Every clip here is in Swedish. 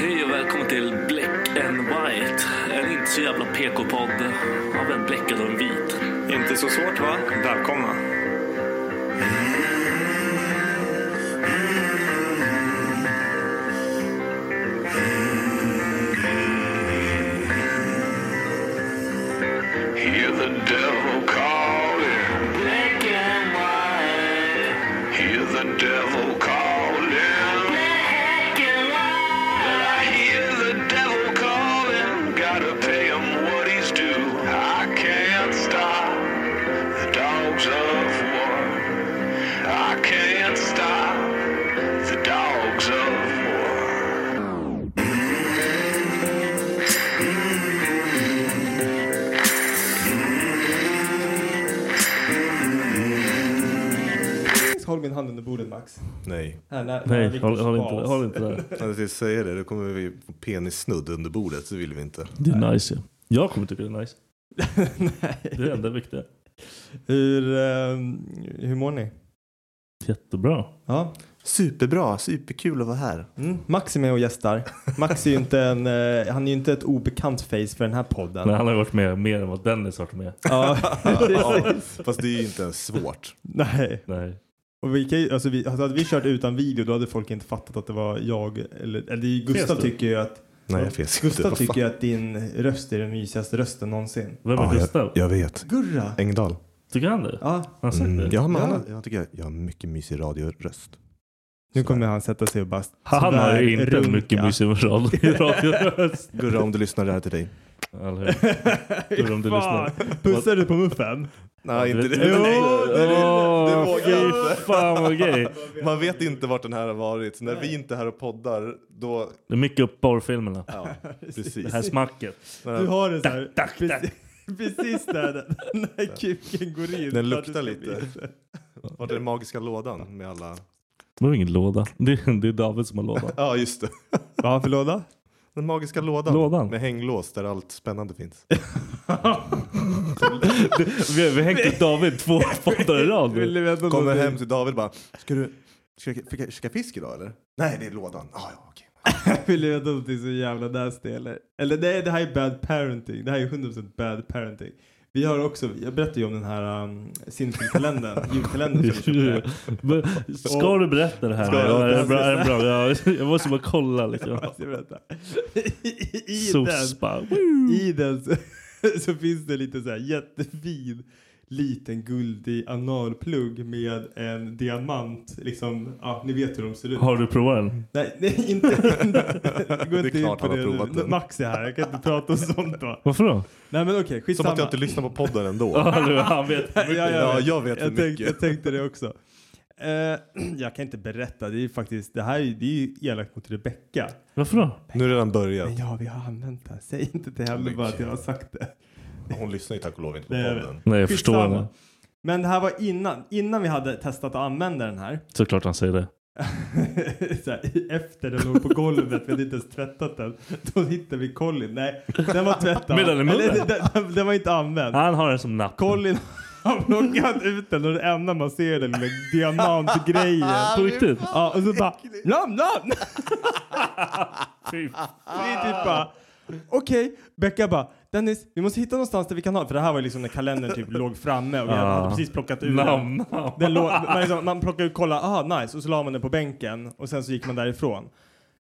Hej och välkommen till Black and White. En inte så jävla PK-podd av en bläckad och en vit. Inte så svårt va? Välkomna. Hear the devil calling. Black and white. Hear the devil calling. Black and white. I hear the devil calling. Gotta pay him what he's due. I can't stop the dogs of war. I can't stop the dogs of war. Håll min hand under bordet Max. Nej, Här, när, när Nej, Victor håll, håll, inte, bas. håll inte där. jag tänkte säga det. Då kommer vi få penissnudd under bordet. Det vill vi inte. Det är nice ju. Jag kommer tycka det är nice. Det är det Nej. enda viktiga. Hur, ehm, hur mår ni? Jättebra. Ja. Superbra, superkul att vara här. Mm. Max är med och gästar. Max är ju inte, en, eh, han är ju inte ett obekant face för den här podden. Men han har varit med mer än vad Dennis har varit med. Ja, Ja, precis. fast det är ju inte ens svårt. Nej. Nej. Och vi kan ju, alltså vi, alltså hade vi kört utan video då hade folk inte fattat att det var jag. Eller, eller det är ju Gustav Finns det? tycker ju att, Nej, jag finns inte. Gustav Vad fan? tycker ju att din röst är den mysigaste rösten någonsin. Vem är Ja, Gustav? jag, jag vet. Gurra! Engdahl. Tycker han det? Ja, Han har sagt Mm, det? ja, men Ja. han- Jag tycker jag, jag har mycket mysig radioröst. nu kommer han sätta sig och bara Han har ju inte runka. mycket mysig radio- radioröst. Gurra, om du lyssnar det här till dig. Eller hur? Hur om du lyssnar. Pussar du på muffen? Nej, Du inte vet- det. du vet- Åh, det vågar jag fy inte. fan vad gay. Man vet inte vart den här har varit. När vi inte är här och poddar, då... Det är mycket upp porrfilmerna. Ja, Det precis. här smacket. När Du den- har den så här, tack, tack. Precis, precis där den, när kuken går in. Den För att du luktar ska lite. visa. Vart är den magiska lådan med alla... Det var ingen låda. Det är, det är David som har lådan. Ja, just det. Vad har han för låda? Den magiska lådan, Lådan. med hänglås där allt spännande finns. Vi har vi har hängt ut David två poddar i rad. nu. Kommer hem till David och bara, ska du ska, jag- ska, jag- ska jag fisk idag eller? Nej, det är lådan. Ah, ja, okej. Vill du veta någonting så jävla nasty eller? Eller nej, det här är bad parenting. Det här är 100% bad parenting. Vi har också, jag berättade ju om den här um, Sinful-kalendern, julkalendern som vi köpte. Men Ska du berätta det här? Ska jag? Ja, är det bra, är det bra? Ja, jag måste bara kolla liksom. lite. Jag ska berätta. I, i, den, Sospa. I den så, så finns det lite så här jättefin liten guldig analplugg med en diamant. Liksom, ja, ni vet hur de ser ut. Har du provat den? Nej, nej, inte. Gå är inte in klart på han har det provat nu. den. Max är här, jag kan inte prata om sånt då. Varför då? Nej men okej, Som skitsamma. att jag inte lyssnar på podden ändå. Ja, du, han vet. ja, Ja, jag vet jag för tänkte, mycket. jag tänkte det också. Eh, jag kan inte berätta, det är ju faktiskt, det här är, det är ju elakt mot Rebecka. Varför då? Nu är det redan börjat. Men ja, vi har använt det. här. Säg inte till henne bara att jag har sagt det. Hon lyssnar ju tack och lov inte på Nej, jag vet. podden. Nej, jag Skitsamma. förstår det. Men det här var innan, innan vi hade testat att använda den här. Såklart han säger det. så här, efter den låg på golvet, vi hade inte ens tvättat den. Då hittade vi Colin. Nej, den var tvättad. Med den i munnen? Eller, den, den, den var inte använd. Han har den som napp. Colin har plockat ut den och det enda man ser är den lilla diamantgrejen. På riktigt? Ja, och så bara nam nam! Fy Det är typ bara okej, Becka bara Dennis, vi måste hitta någonstans där vi kan ha För det här var ju liksom när kalendern typ låg framme och vi hade- Ah. hade precis plockat ur den. Namn. den låg, man, liksom, man plockade ut, kolla, aha nice, och så la man den på bänken och sen så gick man därifrån.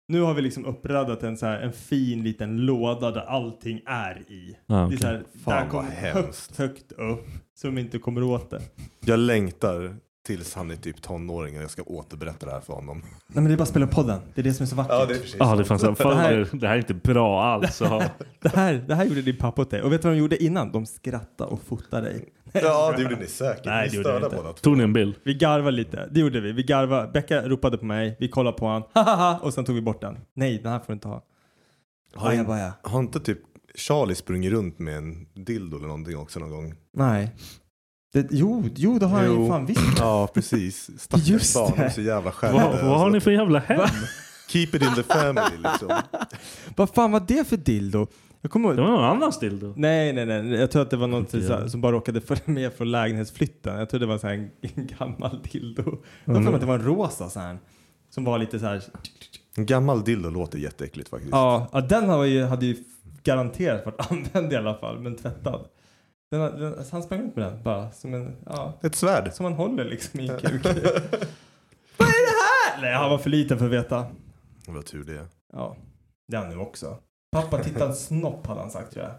Nu har vi liksom uppraddat en, så här, en fin liten låda där allting är i. Ah, Det är okej. så här, Fan, där kommer vad högt, hemskt. högt upp som inte kommer åt det. Jag längtar tills han är typ tonåring och jag ska återberätta det här för honom. Nej men det är bara att spela podden. Det är det som är så vackert. precis. Ja, Ah, det fanns en Det här- fan, det här är inte bra alls. att ha. Det här, det här gjorde din pappa åt dig. Och vet du vad de gjorde innan? De skrattade och fotade dig. Ja, det gjorde ni säkert. Nej, Nej, det ni gjorde vi störde inte. båda två. Tog ni en bild? Vi garvade lite. Det gjorde vi. Vi garvade. Becka ropade på mig. Vi kollade på honom. Hahaha! Och sen tog vi bort den. Nej, den här får du inte ha. Har, Baja, in- baja. har inte typ Charlie sprungit runt med en dildo eller någonting också någon gång? Nej. Det, jo, jo, det har jag ju fan visst. Ja, precis. Stackars Just barn, de det. är så jävla skärpta. Vad, vad har ni för jävla hem? Keep it in the family liksom. Vad fan var det för dildo? Jag kommer Det ihåg. var någon annans dildo. Nej, nej, nej. Jag tror att det var något Inte jag. så- som bara råkade följa med från lägenhetsflytten. Jag tror det var så här en, en gammal dildo. Jag Mm. har för mig att det var en rosa så här. Som var lite så här. En gammal dildo låter jätteäckligt faktiskt. Ja, ja den har ju, hade ju garanterat varit använd i alla fall, men tvättad. Den, har- den, alltså han sprang runt med den bara som en, ja, Ett svärd. som man håller liksom i en kuk. Vad är det här? Nej, han var för liten för att veta. Vad tur det är. Ja, det är han nu också. Pappa titta en snopp hade han sagt tror jag.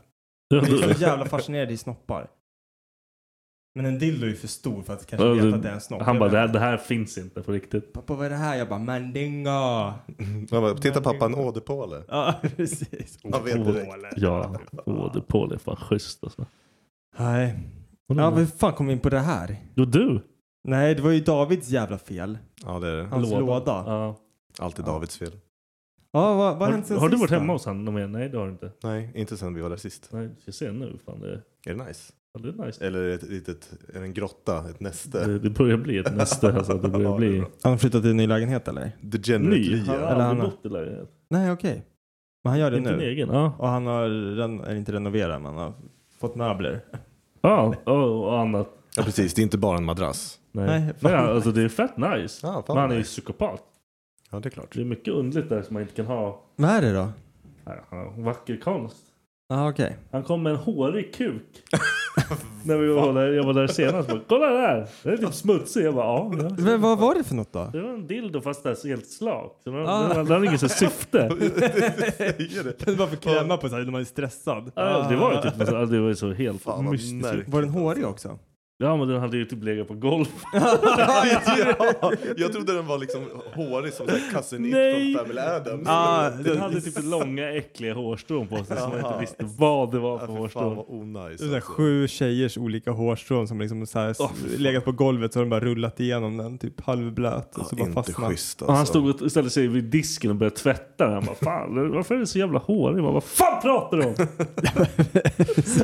Ja, Jag är du- så jävla fascinerad i snoppar. Men en dildo är ju för stor för att kanske Ja, veta du- att det är en snopp. Han Jag bara, det vet här, det här finns inte på riktigt. Pappa vad är det här? Jag bara mandinga. Jag bara, Titta pappa, en åderpåle. Ja precis. Han vet direkt. Ja, åh, det Paul är fan schysst alltså. Nej. Ja hur fan kom vi in på det här? Jo, du. Nej, det var ju Davids jävla fel. Ja, det är det. Hans låda. Ja. Alltid Davids fel. Ja, vad, vad har hänt Har, sen har du sist varit då? hemma hos han någon mer? Nej, det har du inte. Nej, inte sen vi var där sist. Nej, vi ska se nu. Fan, det, Är det nice? ja, det är nice. Eller är det ett litet, är det en grotta, ett näste? Det, det börjar bli ett näste. Alltså, det börjar Ja, det är bli bra. Han har flyttat till en ny lägenhet eller? Degenerate ny. Lia. Han har Eller aldrig han- bott i lägenhet. Nej, okej. Men han gör det Inte en nu. egen. Ja, Och han har, ren- eller inte renoverat, men han har fått möbler. ja och, och annat. Ja, precis. Det är inte bara en madrass. Nej, Nej, Nej, fan. alltså, det är fett nice. Ja, Men han är ju psykopat. Ja, det är klart. Det är mycket underligt där som man inte kan ha. Vad är det då? Nej, Han har vacker konst. Ja, okej. Han kom med en hårig kuk. När vi var där, jag var där senast. Bara, Kolla där! Den är typ smutsig. Jag bara, ja. ja." Men vad var det för något då? Det var en dildo fast det är helt slakt. Så den, Ah. den, den hade inget så här syfte. Det var för kräma på sig när man är stressad. Ja, det var ju typ alltså, det var ju så helt Fan, vad mystiskt. märkligt. Var den hårig också? Ja men den hade ju typ legat på golvet. ja, jag trodde den var liksom hårig som där cousin It Nej. från Family Adams. Ah, Den hade typ långa äckliga hårstrån på sig som man inte Jaha. visste vad det var Ja, för fy fan hårstrån. vad onajs. Det är så här alltså. sju tjejers olika hårstrån som liksom så här s- legat på golvet så har de bara rullat igenom den, typ halvblöt. Och så Ja, bara inte fastnat. schysst alltså. Och han stod och ställde sig vid disken och började tvätta den. Han bara fan varför är det så jävla hårig? Man bara fan pratar du om?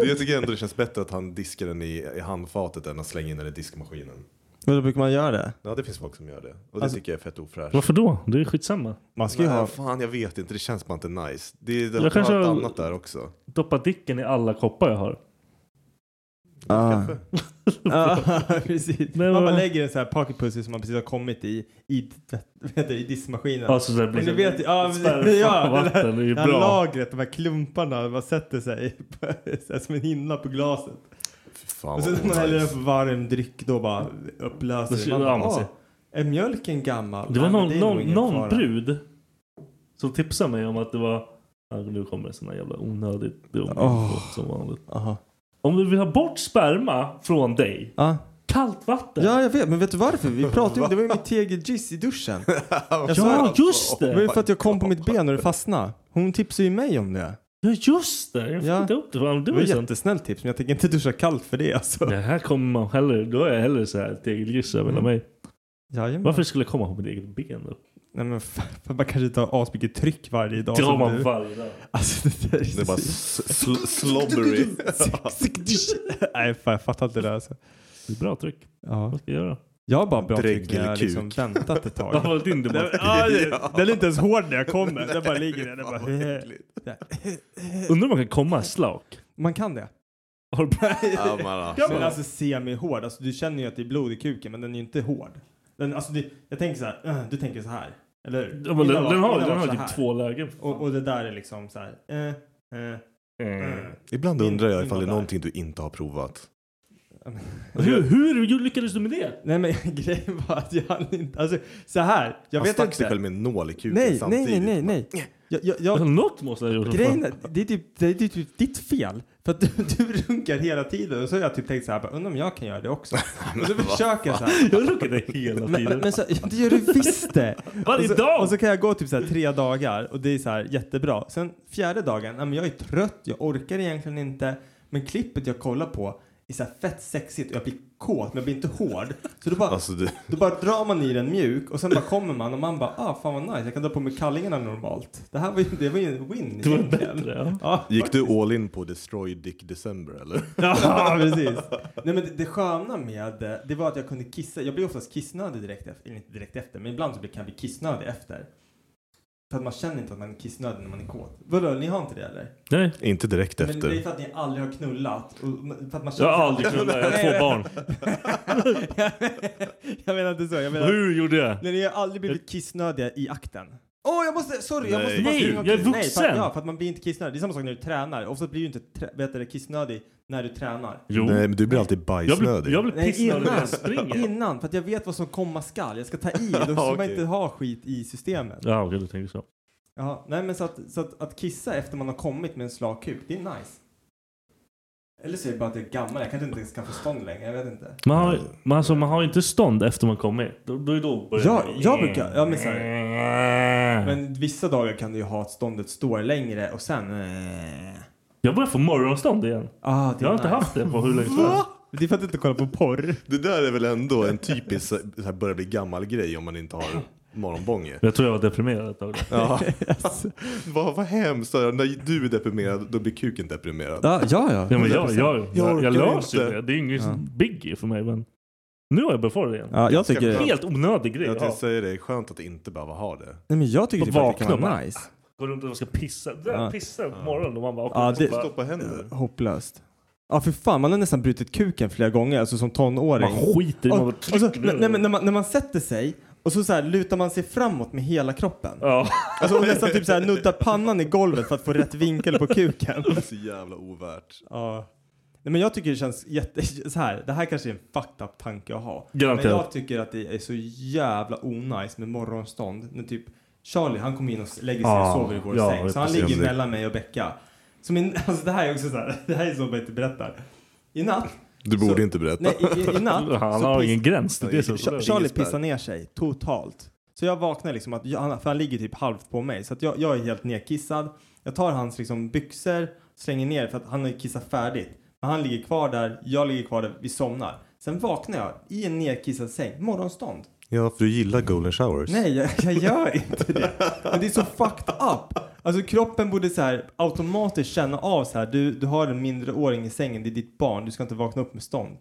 Jag tycker ändå det känns bättre att han diskar den i, i handfatet än att slänga in den i diskmaskinen. Men då brukar man göra det? Ja, det finns folk som gör det. Och det Alltså- tycker jag är fett ofräscht. Varför då? Det är ju skitsamma. Man ska ju Nej, ha... fan jag vet inte, det känns bara inte nice. Det är det, Jag kanske allt har- annat där också. Doppa dicken i alla koppar jag har. Ah. Kanske. Ja, precis. Men man bara vad- lägger en sån här pocket pussy som man precis har kommit i, i, tvätt- vet du, i diskmaskinen. Alltså det Men blir du vet, ja, men- spärr- ja, det där- vatten. Det är ju det här bra. lagret, de här klumparna, man sätter sig på, så här, som en hinna på glaset. Fy fan Och sen vad när man häller upp onajs. varm dryck då bara upplöser Då det. Man känner man bara, sig. "Åh, är mjölken gammal? Det var Nej, men någon, är nog någon, ingen någon fara." brud som tipsade mig om att det var... Ja, Nu kommer det såna jävla onödigt dumt Åh. som vanligt. Aha. Om du vill ha bort sperma från dig, Ja. kallt vatten. ja, jag vet. Men vet du varför? Vi pratade ju, det var ju mitt TG-giss i duschen. Jag sa Ja, det. just Det var ju det! för att jag kom på mitt ben och det fastnade. Hon tipsade ju mig om det. Ja, just det! Jag fick Ja. inte upp det. Fan, Det Det var var ju ett sant. jättesnällt tips, men jag tänker inte duscha kallt för det alltså. Det här kommer man hellre... Då är jag hellre så här tegelgiss över hela Mm. mig. Jajamän. Varför skulle jag komma på mitt eget ben då? Nej men fan, man kanske inte har asmycket tryck varje dag. Det har som man du. varje dag. Alltså det där är, Det är bara s- sl- slobbery. Nej fan jag fattar inte det där, alltså. Det är bra tryck. Ja. Vad ska jag göra? Jag har bara bra tryck när jag har Dräggelkuk. liksom väntat ett tag. Vad var din debatt? Ja, det- Den är inte ens hård när jag kommer. Den bara ligger där. Den bara, Undrar om man kan komma slak? Man kan det. Har du- Ja, men alltså. Ja, men alltså semihård. Alltså, du känner ju att det är blod i kuken men den är ju inte hård. Den, alltså, det, jag tänker så här. eh, Du tänker så här. Eller hur? Ja, men den, Innan var- den har, innan den var har så typ här. två lägen. Och, och det där är liksom så här. eh, eh, Mm. eh. Ibland undrar jag ifall det är Innan- någonting du inte har provat. Hur, hur lyckades du med det? Nej men grejen var att jag hann inte, alltså så här, jag Han vet stack sig inte. själv med en nål i kuken Nej, nej, samtidigt. nej, nej, nej. Jag, jag, jag, Alltså, något måste jag ha gjort. Grejen är, det är, typ, det är typ ditt fel. För att du, du runkar hela tiden. Och så har jag typ tänkt så här, bara, undrar om jag kan göra det också. Och så försöker jag så här. Jag runkade hela Men, tiden. men så, det gör du visst det! Varje och så, dag! Och så kan jag gå typ så här tre dagar och det är så här jättebra. Sen fjärde dagen, ja, men jag är trött, jag orkar egentligen inte. Men klippet jag kollar på är så här fett sexigt och jag blir kåt men jag blir inte hård. Så då bara, Alltså, du- då bara drar man i den mjuk och sen bara kommer man och man bara ah fan vad nice, jag kan dra på mig kallingarna normalt. Det här var ju, det var ju en win Det var egentligen. bättre. Ja. Ja, Gick du all in på Destroy Dick December eller? Ja, precis. Nej, men det, det sköna med eh, det var att jag kunde kissa. Jag blir oftast kissnödig direkt efter, eller inte direkt efter, men ibland så blir- kan jag bli kissnödig efter. För att man känner inte att man är kissnödig när man är kåt. Vadå, ni har inte det eller? Nej, Inte direkt Men det är efter. för att ni aldrig har knullat. Och, för att man jag känner har aldrig knullat. Jag har två barn. jag menar inte så. Jag menar, Hur gjorde jag? när ni har aldrig blivit kissnödiga i akten. Åh, jag måste, sorry, jag måste Nej. bara springa Nej, jag är omkring. Nej, för att, vuxen. ja, för att man blir inte kissnödig. Det är samma sak när du tränar. Ofta blir du inte trä, vet du, kissnödig när du tränar. Jo. Nej, men du blir alltid Jag blir, bajsnödig. jag blir Nej, pissnödig när innan. jag springer. Innan, för att jag vet vad som komma skall. Jag ska ta i, då ska Ja, man okej. inte ha skit i systemet. Ja, okej, du tänker så. Ja, nej men så att, så att, att kissa efter man har kommit med en slak kuk, det är nice. Eller så är det bara att jag är gammal, jag kanske inte ens kan få stånd längre, jag vet inte. Man har, man, alltså, man har ju inte stånd efter man kommit. Då, då, då börjar Ja, det- jag brukar- ja, men så Mm. Men vissa dagar kan du ju ha att ståndet står längre och sen... eh, Jag börjar få morgonstånd igen. Ah, det är Jag har inte nice. haft det på hur länge som helst. Det är för att du inte kollar på porr. Det där är väl ändå en typisk så här, börja bli gammal grej om man inte har morgonbånge. Jag tror jag var deprimerad ett tag. Ja. vad, vad hemskt. När du är deprimerad, då blir kuken deprimerad. Ja, ja. ja. Ja, men jag, jag, jag, Jag jag, orkar löser ju inte. det. Det är ju ingen biggie för mig. Men nu har jag börjat få det igen. Ja, jag tycker... Ja. Nej, Helt onödig grej. Jag Ja. tänkte säga det, skönt att inte behöva ha det. men jag tycker Och typ att det vakna kan bara. vara nice. Går runt och ska pissa. Det Ja. där pissar på morgonen och man bara... Ja, och det- så bara Stoppa händer. Hopplöst. Ja, för fan, man har nästan brutit kuken flera gånger, alltså som tonåring. man skiter i Och, man bara och trycker så, ner nej, den. men när, man, när man sätter sig och så, så här, lutar man sig framåt med hela kroppen. Ja, Alltså, och nästan typ så här, nuddar pannan i golvet för att få rätt vinkel på kuken. Det är så jävla ovärt. Ja. Nej, men jag tycker det känns jätte... Så här, det här kanske är en fucked up tanke att ha. Men garanterat. jag tycker att det är så jävla onajs med morgonstånd. När typ Charlie, han kommer in och lägger sig Ja, och sover i vår Ah, ja, säng. Så han precis. ligger Ja, men det- mellan mig och Becka. Så min, alltså det här är också så här, det här är så man inte berättar. I natt, Du borde Så- inte berätta. nej, i, i, i natt Han så har piss- ingen gräns. Det är det som Cha- Charlie pissar ner sig totalt. Så jag vaknar liksom, att jag, han- för han ligger typ halvt på mig. Så att jag, jag är helt nedkissad. Jag tar hans liksom byxor, slänger ner för att han har ju kissat färdigt. Men han ligger kvar där, jag ligger kvar där, vi somnar. Sen vaknar jag i en nedkissad säng, morgonstånd. Ja, för du gillar golden showers. Nej, jag, jag gör inte det. Men det är så fucked up. Alltså kroppen borde så här automatiskt känna av så här. Du, du har en mindreåring i sängen, det är ditt barn, du ska inte vakna upp med stånd.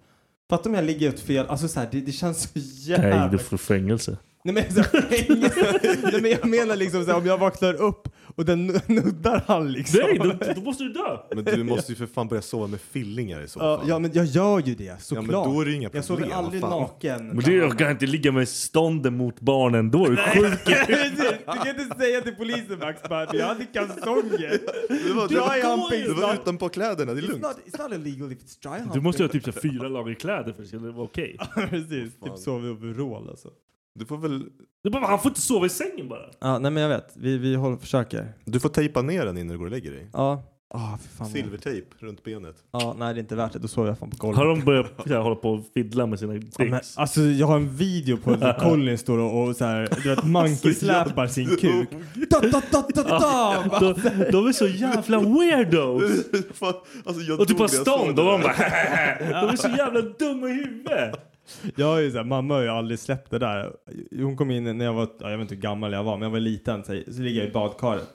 Fattar om jag ligger åt fel, alltså så här, det, det känns så jävla Nej, du får fängelse. Nej men, så här, Nej, men jag menar liksom så här, om jag vaknar upp och den nu- nuddar han liksom. Nej, då, då måste du dö! Men du måste ju för fan börja sova med fillingar i så Ja, fall. ja men jag gör ju det Ja, såklart. men då är det ju inga jag sover problem, aldrig vad fan. naken. Men det, jag kan inte ligga med stånden mot barnen. Då är du sjuk. Precis, du kan inte säga till polisen Max bara, jag hade kalsonger. Det var, Du det var, har ju handpengar. det var utanpå kläderna, det är It's lugnt. not, it's not illegal if it's dry Du måste ju ha typ så här fyra lager kläder för att det ska vara okej. Precis, typ sova i overall alltså. Du får väl... Det är bara, Han får inte sova i sängen bara. Ja, nej men jag vet, vi, vi håller, försöker. Du får tejpa ner den innan du går och lägger dig. Ja. Ah, för fan. Silvertejp runt benet. Ja, nej det är inte värt det, då sover jag fan på golvet. Har de börjat så här, hålla på och fiddla med sina dicks? Ja, men, alltså jag har en video på när Colin står och, och så här, du vet, monkey-släpar sin kuk. Da, da, da, da, da. Bara, de, de är så jävla weirdos! Fan, alltså jag Och typ dog har när jag stånd såg och det de där. bara De är så jävla dumma i huvudet! Jag är ju så här, mamma har ju aldrig släppt det där. Hon kom in när jag var, ja, jag vet inte hur gammal jag var, men jag var liten. Så, här, så ligger jag i badkaret.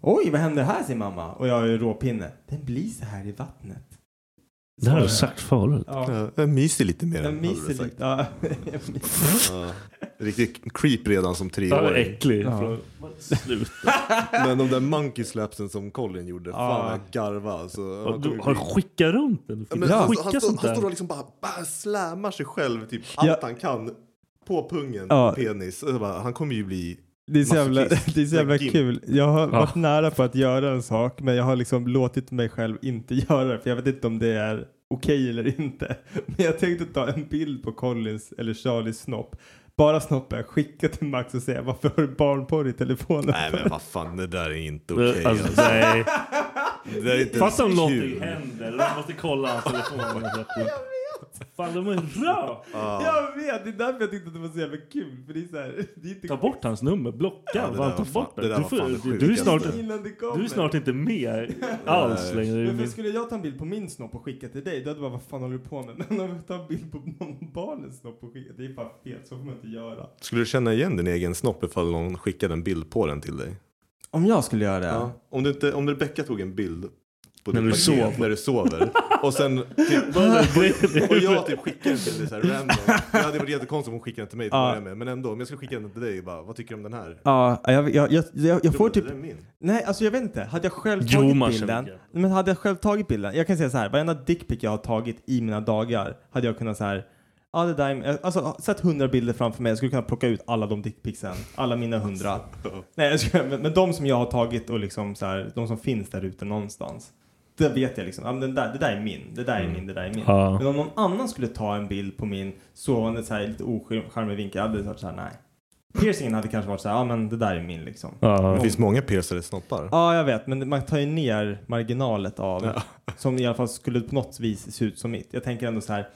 Oj, vad händer här, säger mamma. Och jag har ju råpinne. Den blir så här i vattnet. Det här har du sagt förut. Ja, Ja, Jag myser lite mer jag än vad du myser sagt. lite. Ja. Ja. Riktigt creep redan som Han är treåring. äcklig. Ja. Slut. Men de där monkey slapsen som Colin gjorde, fan vad jag garvade. Alltså, han Du kommer- har skickat runt den. Du Ja, fick men alltså, han, skicka står, sånt han står och där. liksom bara, bara slammar sig själv typ allt Ja. han kan på pungen, Ja. penis. Och jag bara, han kommer ju bli... Det är så jävla, Masochist. det är så jävla Gimp. kul. Jag har varit nära på att göra en sak men jag har liksom låtit mig själv inte göra det för jag vet inte om det är okej eller inte. Men jag tänkte ta en bild på Collins eller Charlies snopp. Bara snoppen, skicka till Max och säga varför har du barnporr i telefonen? Nej men vad fan, det där är inte okej. Okay, alltså. alltså, nej. Det där är inte Fast om ens någonting kul. händer och de måste kolla hans telefon. Jag vet. Fan, de är bra. Jag vet, det är därför jag tyckte att det var så jävla kul. För det är så här, det är inte Ta bort hans nummer, blocka. det bara där ta var fan- bort det. det där Du, var får, fan det du, du, är snart, sjukaste. innan det kommer. du är snart inte med alls längre. i Men för min- skulle jag ta en bild på min snopp och skicka till dig, då hade du bara vad fan håller du på med? Men om jag tar en bild på någon barnens snopp och skicka, det är bara fel, så får man inte göra. Skulle du känna igen din egen snopp ifall någon skickade en bild på den till dig? Om jag skulle göra det? Om, du inte, om Rebecca tog en bild på När ditt du paket sov. när du sover och sen typ, och jag typ skickar den till dig såhär random. Det hade varit jättekonstigt om hon skickade den till mig till Ja. att börja med. Men ändå, om jag skulle skicka den till dig bara, vad tycker du om den här? Ja, jag, jag, jag, jag, jag Du får bara, typ... "Det där är min." Nej, alltså jag vet inte. Hade jag själv Jo, tagit man känner bilden... igen. Men hade jag själv tagit bilden... Jag kan säga så här, varenda dickpic jag har tagit i mina dagar hade jag kunnat så här... Ja, det där är... Alltså, sett hundra bilder framför mig. Jag skulle kunna plocka ut alla de dickpicsen. Alla mina hundra. Nej, jag skulle, men, men de som jag har tagit och liksom så här, de som finns där ute någonstans. Det vet jag liksom. Ja, men den där, det där är min. Det där är min. Det där är min. Ja. Men om någon annan skulle ta en bild på min sovande så här lite ocharmig vinkel, hade det varit så här, nej. Piercingen hade kanske varit så här, ja men det där är min liksom. Det Ja. finns många piercade snoppar. Ja, jag vet. Men man tar ju ner marginalet av som i alla fall skulle på något vis se ut som mitt. Jag tänker ändå så här.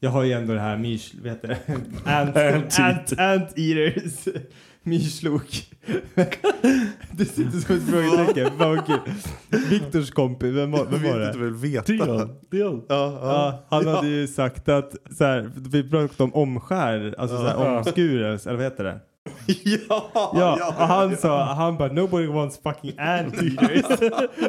Jag har ju ändå det här myrs... Vad heter det? Ant, ant, ant, Anteater. eaters. Myrslok. det sitter som ett frågetecken. Fan vad kul. Viktors kompis, vem var, vem var det? Typ. väl veta. Dion, Dion. Ja, Ja, han hade ju sagt att så här, vi pratade om omskär, alltså så här, omskurelse, eller vad heter det? ja, Ja, och han sa, han bara nobody wants fucking anteaters.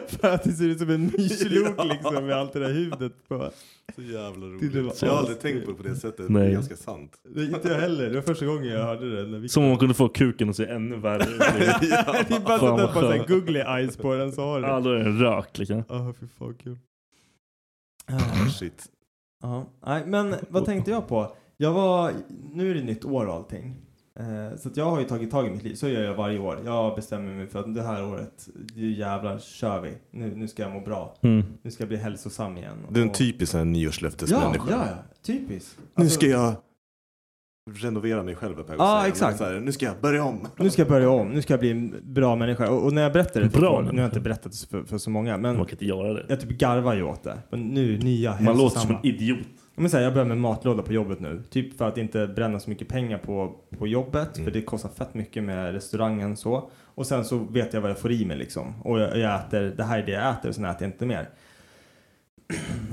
För att det ser ut som en myrslok liksom med allt det där huvudet på. Så jävla Det var- roligt. Jag har aldrig tänkt på det på det sättet. Nej. Det är ganska sant. Det, inte jag heller, det var första gången jag hörde det. När vi... Som om man kunde få kuken att se ännu värre ut. det är bara Fan, att vad sätta på såhär skönt. googly eyes på den så har du Ja, det. då är det en rök liksom. Ja, fy fan kul. Shit. Ja, nej men vad tänkte jag på? Jag var, nu är det nytt år och allting. Eh, så att jag har ju tagit tag i mitt liv, så gör jag varje år. Jag bestämmer mig för att det här året, nu jävlar kör vi. Nu, nu ska jag må bra. Mm. Nu ska jag bli hälsosam igen. Du är en Och- typisk sån här Ja, nyårslöftesmänniska. ja, ja, typiskt. Nu Alltså- ska jag renovera mig själv. Ja, Ja, exakt. Så här, nu ska jag börja om. Nu ska jag börja om, nu ska jag bli en bra människa. Och, och när jag berättar det för Bra folk, nu har jag människa. inte berättat det för, för så många, men Man kan inte göra det. jag typ garvar ju åt det. Men nu, nya, Man hälsosamma. låter som en idiot. Men så här, jag börjar med matlåda på jobbet nu. Typ för att inte bränna så mycket pengar på, på jobbet. Mm. För det kostar fett mycket med restaurangen så. Och sen så vet jag vad jag får i mig liksom. Och jag, jag äter, det här är det jag äter och sen äter jag inte mer.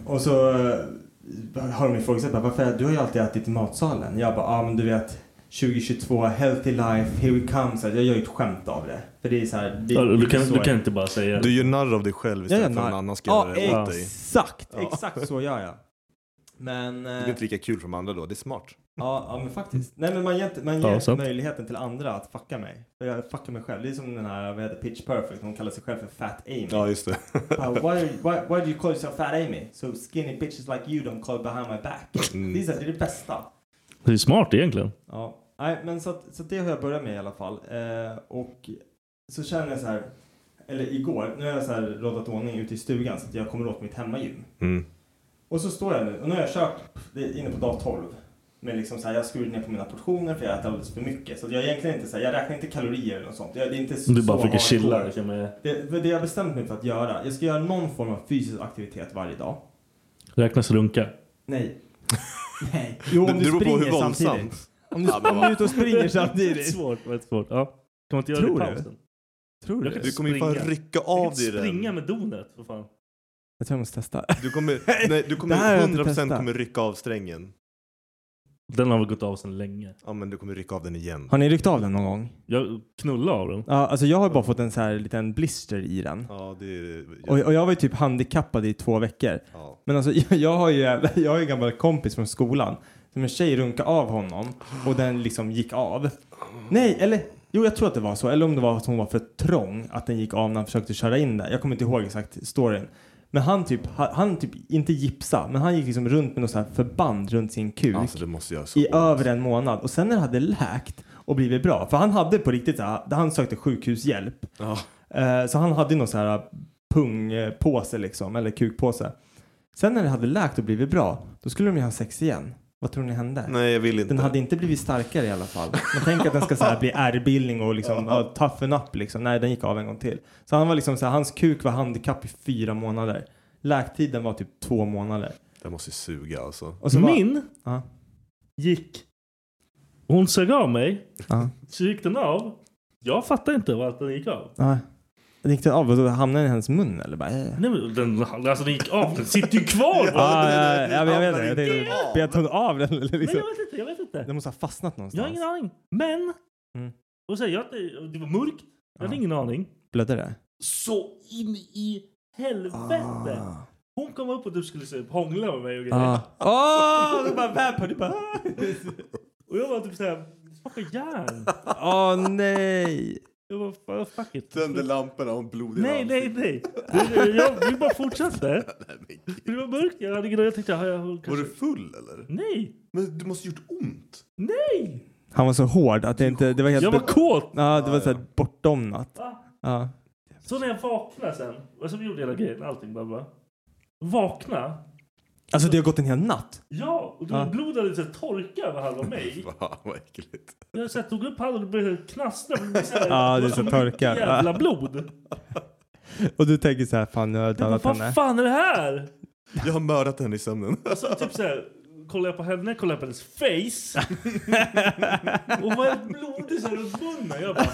Och så eh, har de ifrågasatt bara, varför, du har ju alltid ätit i matsalen. Jag bara, ja ah, men du vet 2022, healthy life, here we come. Så här, jag gör ju ett skämt av det. För det är så här. Det, Ja, Du det är kan, så du jag- kan inte bara säga Du gör narr av dig själv jag gör istället för att narr. Ah, någon annan ska Ja, göra det åt dig. exakt, Ja. exakt så gör jag. Men... eh, Det blir inte lika kul för de andra då. Det är smart. Ja, ja men faktiskt. Nej men man ger, inte- man Ja, ger inte sant. möjligheten till andra att fucka mig. För Jag fuckar mig själv. Det är som den här, vad heter Pitch Perfect, hon kallar sig själv för Fat Amy. Ja, just det. Uh, why, why, why do you call yourself Fat Amy? So skinny bitches like you don't call behind my back. Mm. Det är, så här, det, är det bästa. Det är smart egentligen. Ja, nej men så, att, så att det har jag börjat med i alla fall. Eh, och så känner jag så här, eller igår, nu har jag så här råddat ordning ute i stugan så att jag kommer åt mitt hemmagym. Mm. Och så står jag nu, och nu har jag kört det är inne på dag 12. Men liksom så här, jag har skurit ner på mina portioner för jag äter alldeles för mycket. Så att jag är egentligen inte så här, jag räknar inte kalorier eller något sånt. Jag, det är inte så Du bara försöker hardcore. chilla. liksom, med- Det, för det jag har bestämt mig för att göra, jag ska göra någon form av fysisk aktivitet varje dag. Räknas runka. Nej. Nej. Jo, om du, Det beror på springer hur våldsam. samtidigt. Om du, Ja, men om du är ute och springer Det är samtidigt. svårt. Det är svårt. Ja. Kan man inte göra Tror det du? i pausen? Tror Jag kan Du kommer ju Springa. bara rycka Jag kan av inte dig springa den. med donet. För fan. Jag tror jag måste testa. Du kommer, nej, du Det här har kommer jag inte 100% testat. kommer rycka av strängen. Den har väl gått av sedan länge. Ja, men du kommer rycka av den igen. Har ni ryckt av den någon gång? Jag knullade av den. Ja, alltså jag har bara fått en så här liten blister i den. Ja, det är... Och, och jag var ju typ handikappad i två veckor. Ja. Men alltså jag, jag har ju jag har ju en gammal kompis från skolan. Som en tjej runkade av honom och den liksom gick av. Nej, eller jo jag tror att det var så. Eller om det var att hon var för trång att den gick av när han försökte köra in där. Jag kommer inte ihåg exakt storyn. Men han typ, han, han typ, inte gipsa, men han gick liksom runt med något så här förband runt sin kuk Alltså, det måste göra så i ont. över en månad och sen när det hade läkt och blivit bra, för han hade på riktigt så här, han sökte sjukhushjälp. Ja. Eh, så han hade någon så här pungpåse liksom, eller kukpåse. Sen när det hade läkt och blivit bra, då skulle de ju ha sex igen. Vad tror ni hände? Nej, jag vill inte. Den hade inte blivit starkare i alla fall. Men tänk att den ska så här bli ärrbildning och liksom, ja, toughen up liksom. Nej, den gick av en gång till. Så han var liksom så här, hans kuk var handikapp i fyra månader. Läktiden var typ två månader. Den måste ju suga alltså. Och så var- Min Ja. gick... Hon sög av mig. Ja. Så gick den av. Jag fattar inte vart den gick av. Nej. Den gick den av och då hamnade den i hennes mun eller bara? eh. Nej, men den, alltså den gick av. Den sitter ju kvar. bara. Ah, ja, ja, den- ja, men jag vet den inte. Jag gick tänkte, av. bet hon av den eller Nej, liksom? jag vet inte. Jag vet inte. Den måste ha fastnat Jag har någonstans. ingen aning. Men. Mm. Och så, här, jag, det var mörkt. Jag hade Ja. ingen aning. Blödde det? Så in i helvete. Hon kom upp och du skulle så här hångla med mig och grejer. Ah. Åh! Du bara vampire, du bara... Och jag var typ såhär, smaka järn. Åh nej! Jag bara, "Fan, fuck it. Tände lamporna och en blodig Nej, hand. nej, nej. Jag, jag, jag bara fortsatte. Det var mörkt. Jag hade ingen Jag tänkte, har jag kanske... Var du full eller? Nej, Men det måste gjort ont. nej! Han var så hård att det inte... Det var helt... Jag var kåt. Ja, det var såhär bortdomnat. Va? Ja. Så när jag vaknade sen, och så gjorde jag hela grejen, allting bla bla. Vakna. Alltså det har gått en hel natt. Ja, och då Ja. blodet hade så här torkat över halva mig. Fan vad äckligt. Jag så här, tog upp handen och började knastra. för det blev så här- Ja, det är var så mycket torkat. Jävla blod. Och du tänker så här, fan nu har jag dödat henne. Vad fan är det här? Jag har mördat henne i sömnen. Och så typ så här, kollar jag på henne, kollar jag på hennes face. och var helt blodig så här runt munnen. Jag bara,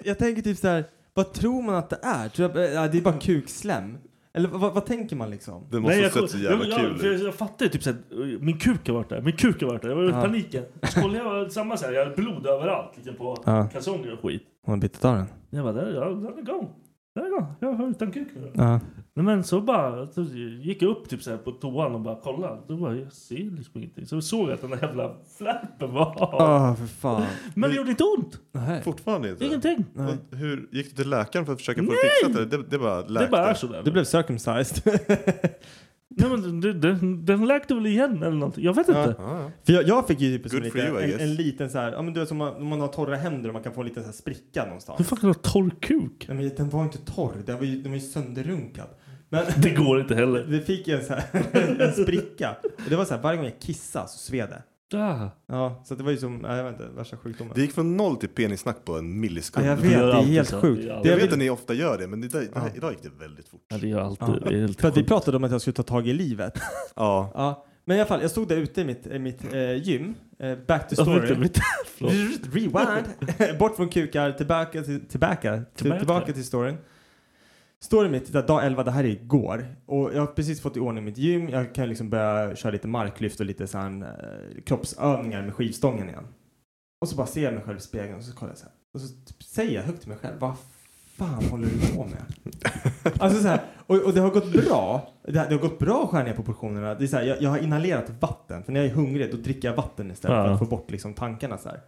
jag tänker typ så här, vad tror man att det är? Tror jag, eh, ja, det är bara kukslem. Eller vad, vad tänker man liksom? Det måste ha jag, sett så jävla jag, kul Jag, ut. jag, jag fattar ju typ såhär, min kuk har varit där, min kuk har varit där. Jag var i Ja. paniken. Så kollade jag, samma såhär, jag hade blod överallt liksom på Ja. kalsonger och skit. Hon har bitit av den. Jag bara, där, där, där är igång. Där är igång. Jag var utan kuk nu. Ja. Nej, Men så bara, så gick jag upp typ såhär på toan och bara kollade. Då bara, jag ser liksom ingenting. Så såg jag att den där jävla fläppen var av. Åh, för fan. Men det gjorde inte ont. Nej. Fortfarande inte? Ingenting. Nej. Och Hur, gick du till läkaren för att försöka få det Nej! fixat? eller? Det, det bara läkte? Det bara är sådär. Du blev circumcised. Nej men det, det, den läkte väl igen eller någonting. Jag vet inte. Ja, ja. För jag, jag fick ju typ som Good for lite, you, I en, guess. en liten så här, ja men du vet som man, om man har torra händer och man kan få en liten så här spricka Hur någonstans. fan kan du ha torr kuk? Nej men den var inte torr, den var ju, den var ju sönderrunkad. Men Det går inte heller. vi fick ju en så här, en spricka. Och det var så här, varje gång jag kissade så sved det. Ah. Ja, så det var ju som, nej, jag vet inte, värsta sjukdomen. Det gick från noll till penissnack på en Ja, millisekund. jag Det- vet, det gör är alltid helt så. sjukt. Det gör Det jag jag vet vill- att ni ofta gör det, men idag, Ja. idag gick det väldigt fort. Ja, det gör alltid. Ja. Det är helt För att vi sjukt. pratade om att jag skulle ta tag i livet. Ja. Ja. Men i alla fall, jag stod där ute i mitt, i mitt eh, gym. Eh, back to Ja, story. vänta, vänta. Förlåt. Rewind. Bort från kukar, tillbaka till, tillbaka, till, Tillbaka. tillbaka till storyn. Storyn mitt, där dag 11, det här är igår. Och jag har precis fått i ordning mitt gym. Jag kan liksom börja köra lite marklyft och lite sån, eh, kroppsövningar med skivstången igen. Och så bara ser jag mig själv i spegeln och så kollar jag så här. Och så typ säger jag högt till mig själv, vad fan håller du på med? Alltså så här, och, och det har gått bra. Det, har- det har gått bra att skära ner på portionerna. Det är så här, jag, jag har inhalerat vatten, för när jag är hungrig då dricker jag vatten istället för Ja. att få bort liksom, tankarna så här.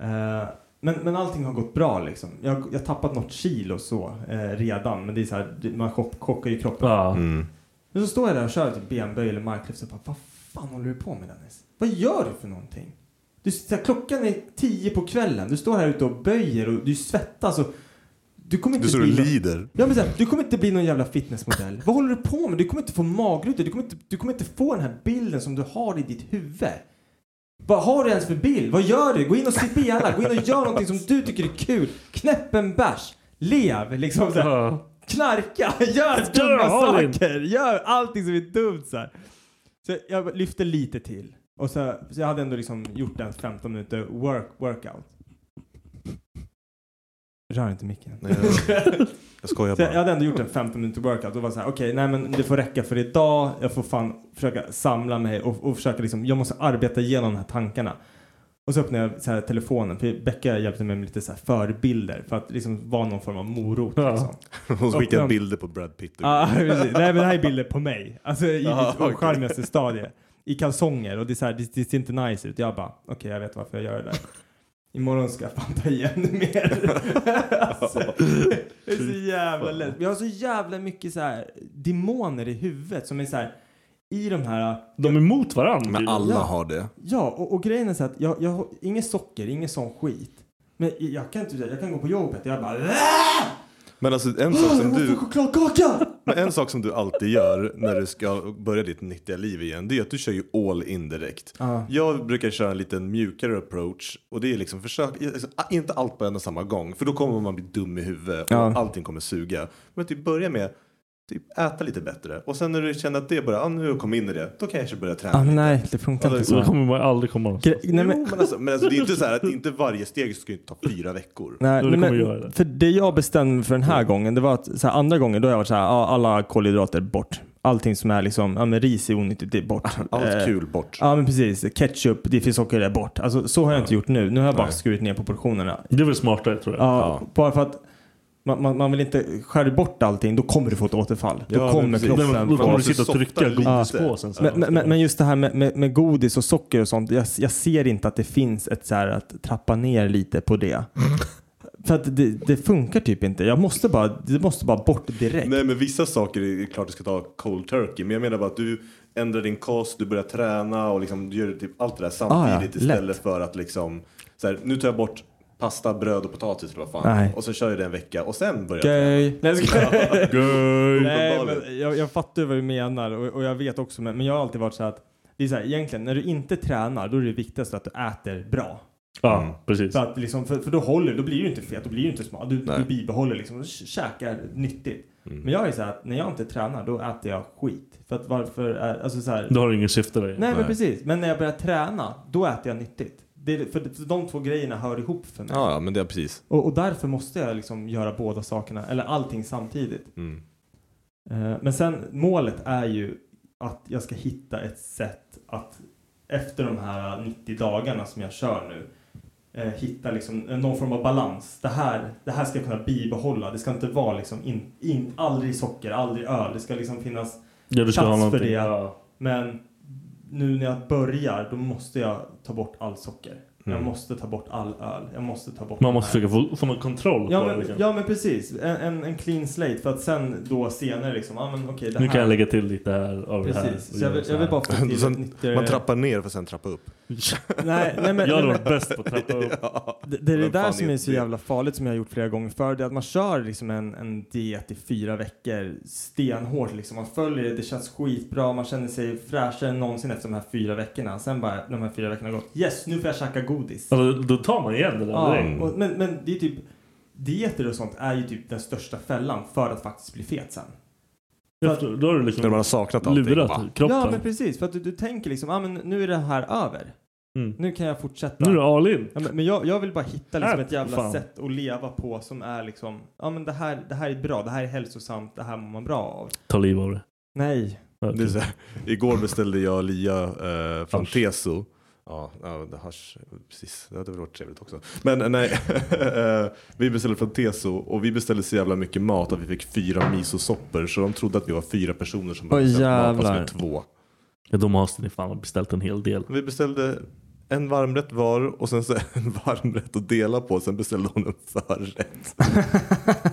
Eh, men, men allting har gått bra liksom. Jag jag har tappat något kilo så eh, redan, men det är så här, det- man chock, chockar ju kroppen. Ja. Mm. Men så står jag där och kör typ benböj eller marklyft och bara, vad fan håller du på med Dennis? Vad gör du för någonting? Du, så här, klockan är tio på kvällen, du står här ute och böjer och du svettas och du kommer inte Du står och bli någon- lider. Ja, men så här, du kommer inte bli någon jävla fitnessmodell. Vad håller du på med? Du kommer inte få magrutor. Du kommer inte, du kommer inte få den här bilden som du har i ditt huvud. Vad har du ens för bild? Vad gör du? Gå in och sitt gärna. Gå in och gör någonting som du tycker är kul. Knäpp en bärs. Lev liksom så här. Ja. Knarka, gör Stör dumma Harlin. saker. Gör allting som är dumt så här. Så jag lyfte lite till. Och så, så jag hade ändå liksom gjort en 15 minuter work, workout. Rör inte micken. Nej, jag- Jag skojar Så jag bara. hade ändå gjort en 15 minuter workout och var så här, okej, nej men det får räcka för idag. Jag får fan försöka samla mig och, och försöka liksom, jag måste arbeta igenom de här tankarna. Och så öppnade jag så här telefonen, för Becka hjälpte mig med lite så här förebilder för att liksom vara någon form av morot. Ja. Liksom. Hon skickar bilder på Brad Pitt. Ja, Ah, precis. Nej men det här är bilder på mig. Alltså i Ja, mitt okej. ocharmigaste stadie. I kalsonger och det, är så här, det, det ser inte nice ut. Jag bara, okej jag vet varför jag gör det där. Imorgon ska jag fan ta igen det mer. alltså, det är så jävla lätt. Vi har så jävla mycket så här demoner i huvudet som är så här i de här De är mot varandra. Men tydligen. alla har det. Ja, och, och grejen är så att jag, jag har inget socker, ingen sån skit. Men jag kan inte, jag kan gå på jobbet och jag bara "Äh, Men alltså en åh, sak Jag som måste du... ha chokladkaka! Men en sak som du alltid gör när du ska börja ditt nyttiga liv igen, det är att du kör ju all in direkt. Jag brukar köra en liten mjukare approach och det är liksom försök, alltså, inte allt på en och samma gång, för då kommer man bli dum i huvudet och Ja. allting kommer suga. Men typ börja med typ äta lite bättre och sen när du känner att det börjar, ah, nu har jag kommit in i det, då kan jag kanske börja träna Ah, lite. nej, det funkar inte Alltså, Så så. kommer man aldrig komma någonstans. Gre- Nej, men, Jo, men alltså, men alltså, det är inte så här att inte varje steg ska ju ta fyra veckor. Nej, Jo, det nej, kommer men, göra det. för det jag bestämde mig för den här gången, det var att så här, andra gången då har jag varit så här, ja, alla kolhydrater bort. Allting som är liksom, ja men ris är onyttigt, det är bort. Allt Eh, kul bort. Ja men precis, ketchup, det finns socker, det är bort. Alltså så har jag inte gjort nu. Nu har jag bara skurit ner på portionerna. Det är väl smartare tror jag. Ja, Bara för att man, man, man vill inte skära bort allting, då kommer du få ett återfall. Då Ja, men kommer precis. kroppen. Men då Man kommer du måste sitta och trycka softa godispåsen. så här. Men, men, men- men just det här med, med, med godis och socker och sånt. Jag, jag ser inte att det finns ett så här att trappa ner lite på det. För att det, det funkar typ inte. Jag måste bara, det måste bara bort direkt. Nej men vissa saker är klart du ska ta cold turkey. Men jag menar bara att du ändrar din kost, du börjar träna och liksom du gör typ allt det där samtidigt Ah, ja, istället lätt. för att liksom så här, nu tar jag bort pasta, bröd och potatis eller vad fan. Nej. Och så kör jag det en vecka och sen börjar jag träna. Gay. Nej, jag ska- Nej, Uppenbarligen. men jag, jag fattar vad du menar och, och jag vet också, men, men jag har alltid varit så här att det är så här, egentligen när du inte tränar då är det viktigast att du äter bra. Ja, precis. Så att liksom, för, för då håller, då blir du inte fet, då blir du inte smal. Du, Nej. du bibehåller liksom, du k- käkar nyttigt. Men jag är så här att när jag inte tränar då äter jag skit. För att varför, är, alltså så här, Då har du ingen syfte längre. nej men precis. Men när jag börjar träna, då äter jag nyttigt. Det, är- för, för de två grejerna hör ihop för mig. Ja, ja, men det är precis. Och, och därför måste jag liksom göra båda sakerna, eller allting samtidigt. Mm. Eh, Men sen målet är ju att jag ska hitta ett sätt att efter de här 90 dagarna som jag kör nu eh, hitta liksom eh, någon form av balans. Det här, det här ska jag kunna bibehålla. Det ska inte vara liksom in, in, aldrig socker, aldrig öl. Det ska liksom finnas. Ja, du ska Chans ha för någonting. det. Ja. Men nu när jag börjar då måste jag ta bort all socker. Jag Mm. måste ta bort all öl. Jag måste ta bort Man det måste här. försöka få, få någon kontroll Ja på det. men, liksom. ja men precis, en, en, en clean slate för att sen då senare liksom, ja men okej det Nu här. kan jag lägga till lite här av det här. Precis, så jag och vill, så jag vill här. bara få till ett Sen, nyttigare... man trappar ner för att sen trappa upp. Nej, nej men, Jag nej, hade men varit bäst på att trappa upp. det, det är det Vem där fan som är är så det? jävla farligt som jag har gjort flera gånger förr. Det är att man kör liksom en, en diet i fyra veckor stenhårt liksom. Man följer det, det känns skitbra, man känner sig fräschare än någonsin efter de här fyra veckorna. Sen bara, när de här fyra veckorna har gått, yes nu får jag käka godis. Alltså, då tar man igen det där Ja, direkt. och, men, men det är typ, dieter och sånt är ju typ den största fällan för att faktiskt bli fet sen. Efter- Då har du När man liksom har saknat allting. bara, lurat kroppen. Ja men precis, för att du, du tänker liksom, ah, men nu är det här över. Mm. Nu kan jag fortsätta. Nu är det all in. Ja, men men jag, jag vill bara hitta liksom Ät, ett jävla fan. sätt att leva på som är liksom, ja men det här, det här är bra, det här är hälsosamt, det här mår man bra av. Ta liv av det. Nej. Okej. Det är så här, igår beställde jag Lia eh, från Hasch. Teso. Ja, ja det hasch, precis. Det hade väl varit trevligt också. Men eh, nej, eh, vi beställde från Teso och vi beställde så jävla mycket mat att vi fick fyra misosoppor. Så de trodde att vi var fyra personer som hade Oj, beställt mat, fast vi jävlar. är två. Ja, de har ni fan beställt en hel del. Vi beställde en varmrätt var och sen så en varmrätt att dela på. Sen beställde hon en förrätt.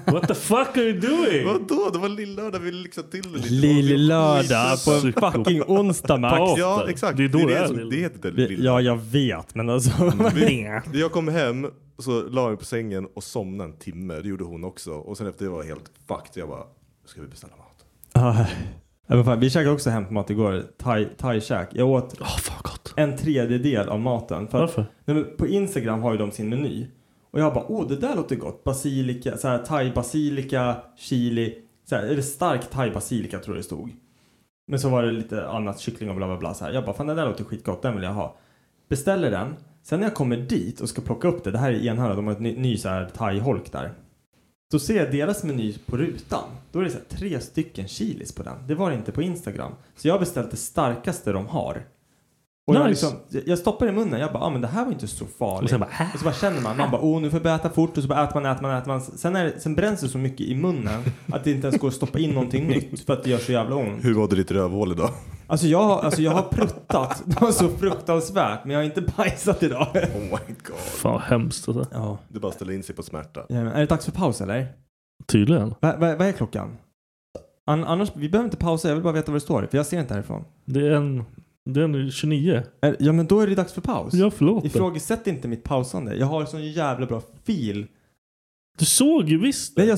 What the fuck are you doing? Vadå? Det var lillördag, vi lyxade till det lite. Lill-lördag på en Psykopat. fucking onsdag Max. Paus. Ja, exakt. Det är då det är som- lill- det heter Vi- lill- Ja jag vet men alltså. Nej. Jag kom hem, så la jag mig på sängen och somnade en timme. Det gjorde hon också. Och sen efter det var jag helt fucked. Jag bara, ska vi beställa mat? Ja, men fan, vi käkade också hämtmat igår, thai- thai-käk. jag åt Åh, fan gott. en tredjedel av maten. För att- Varför? Nej, men på Instagram har ju de sin meny. Och jag bara, åh det där låter gott. Basilika, så här, thai-basilika, chili. Så här, eller stark thai-basilika tror jag det stod. Men så var det lite annat, kyckling och bla bla bla. Så här. Jag bara, fan det där låter skitgott, den vill jag ha. Beställer den. Sen när jag kommer dit och ska plocka upp det, det här är Enhörna, de har ett ny, ny så här thai-holk där. Då ser jag deras meny på rutan. Då är det så här, tre stycken chilis på den. Det var det inte på Instagram. Så jag har beställt det starkaste de har. Och jag, Nice. liksom, jag- jag stoppar i munnen. Jag bara, ah, men det här var inte så farligt. Och sen bara, äh. Och så bara känner man, man bara åh nu får jag börja äta fort och så bara äter man, äter man, äter man. Sen, är, det- sen bränns det så mycket i munnen att det inte ens går att stoppa in någonting nytt för att det gör så jävla ont. Hur var det ditt rövhål idag? Alltså jag, har- alltså jag har pruttat något så fruktansvärt men jag har inte bajsat idag. Oh my god. Fan vad hemskt. Alltså. Ja. Det bara ställde in sig på smärta. Jajamän. Är det dags för paus eller? Tydligen. Va, va, vad är klockan? An, annars, vi behöver inte pausa, jag vill bara veta vad det står för jag ser inte härifrån. Det är en, det är en 29. Är, ja men då är det dags för paus. Ja, förlåt. Ifrågasätt inte mitt pausande. Jag har sån jävla bra fil. Du såg ju visst. Nej, jag,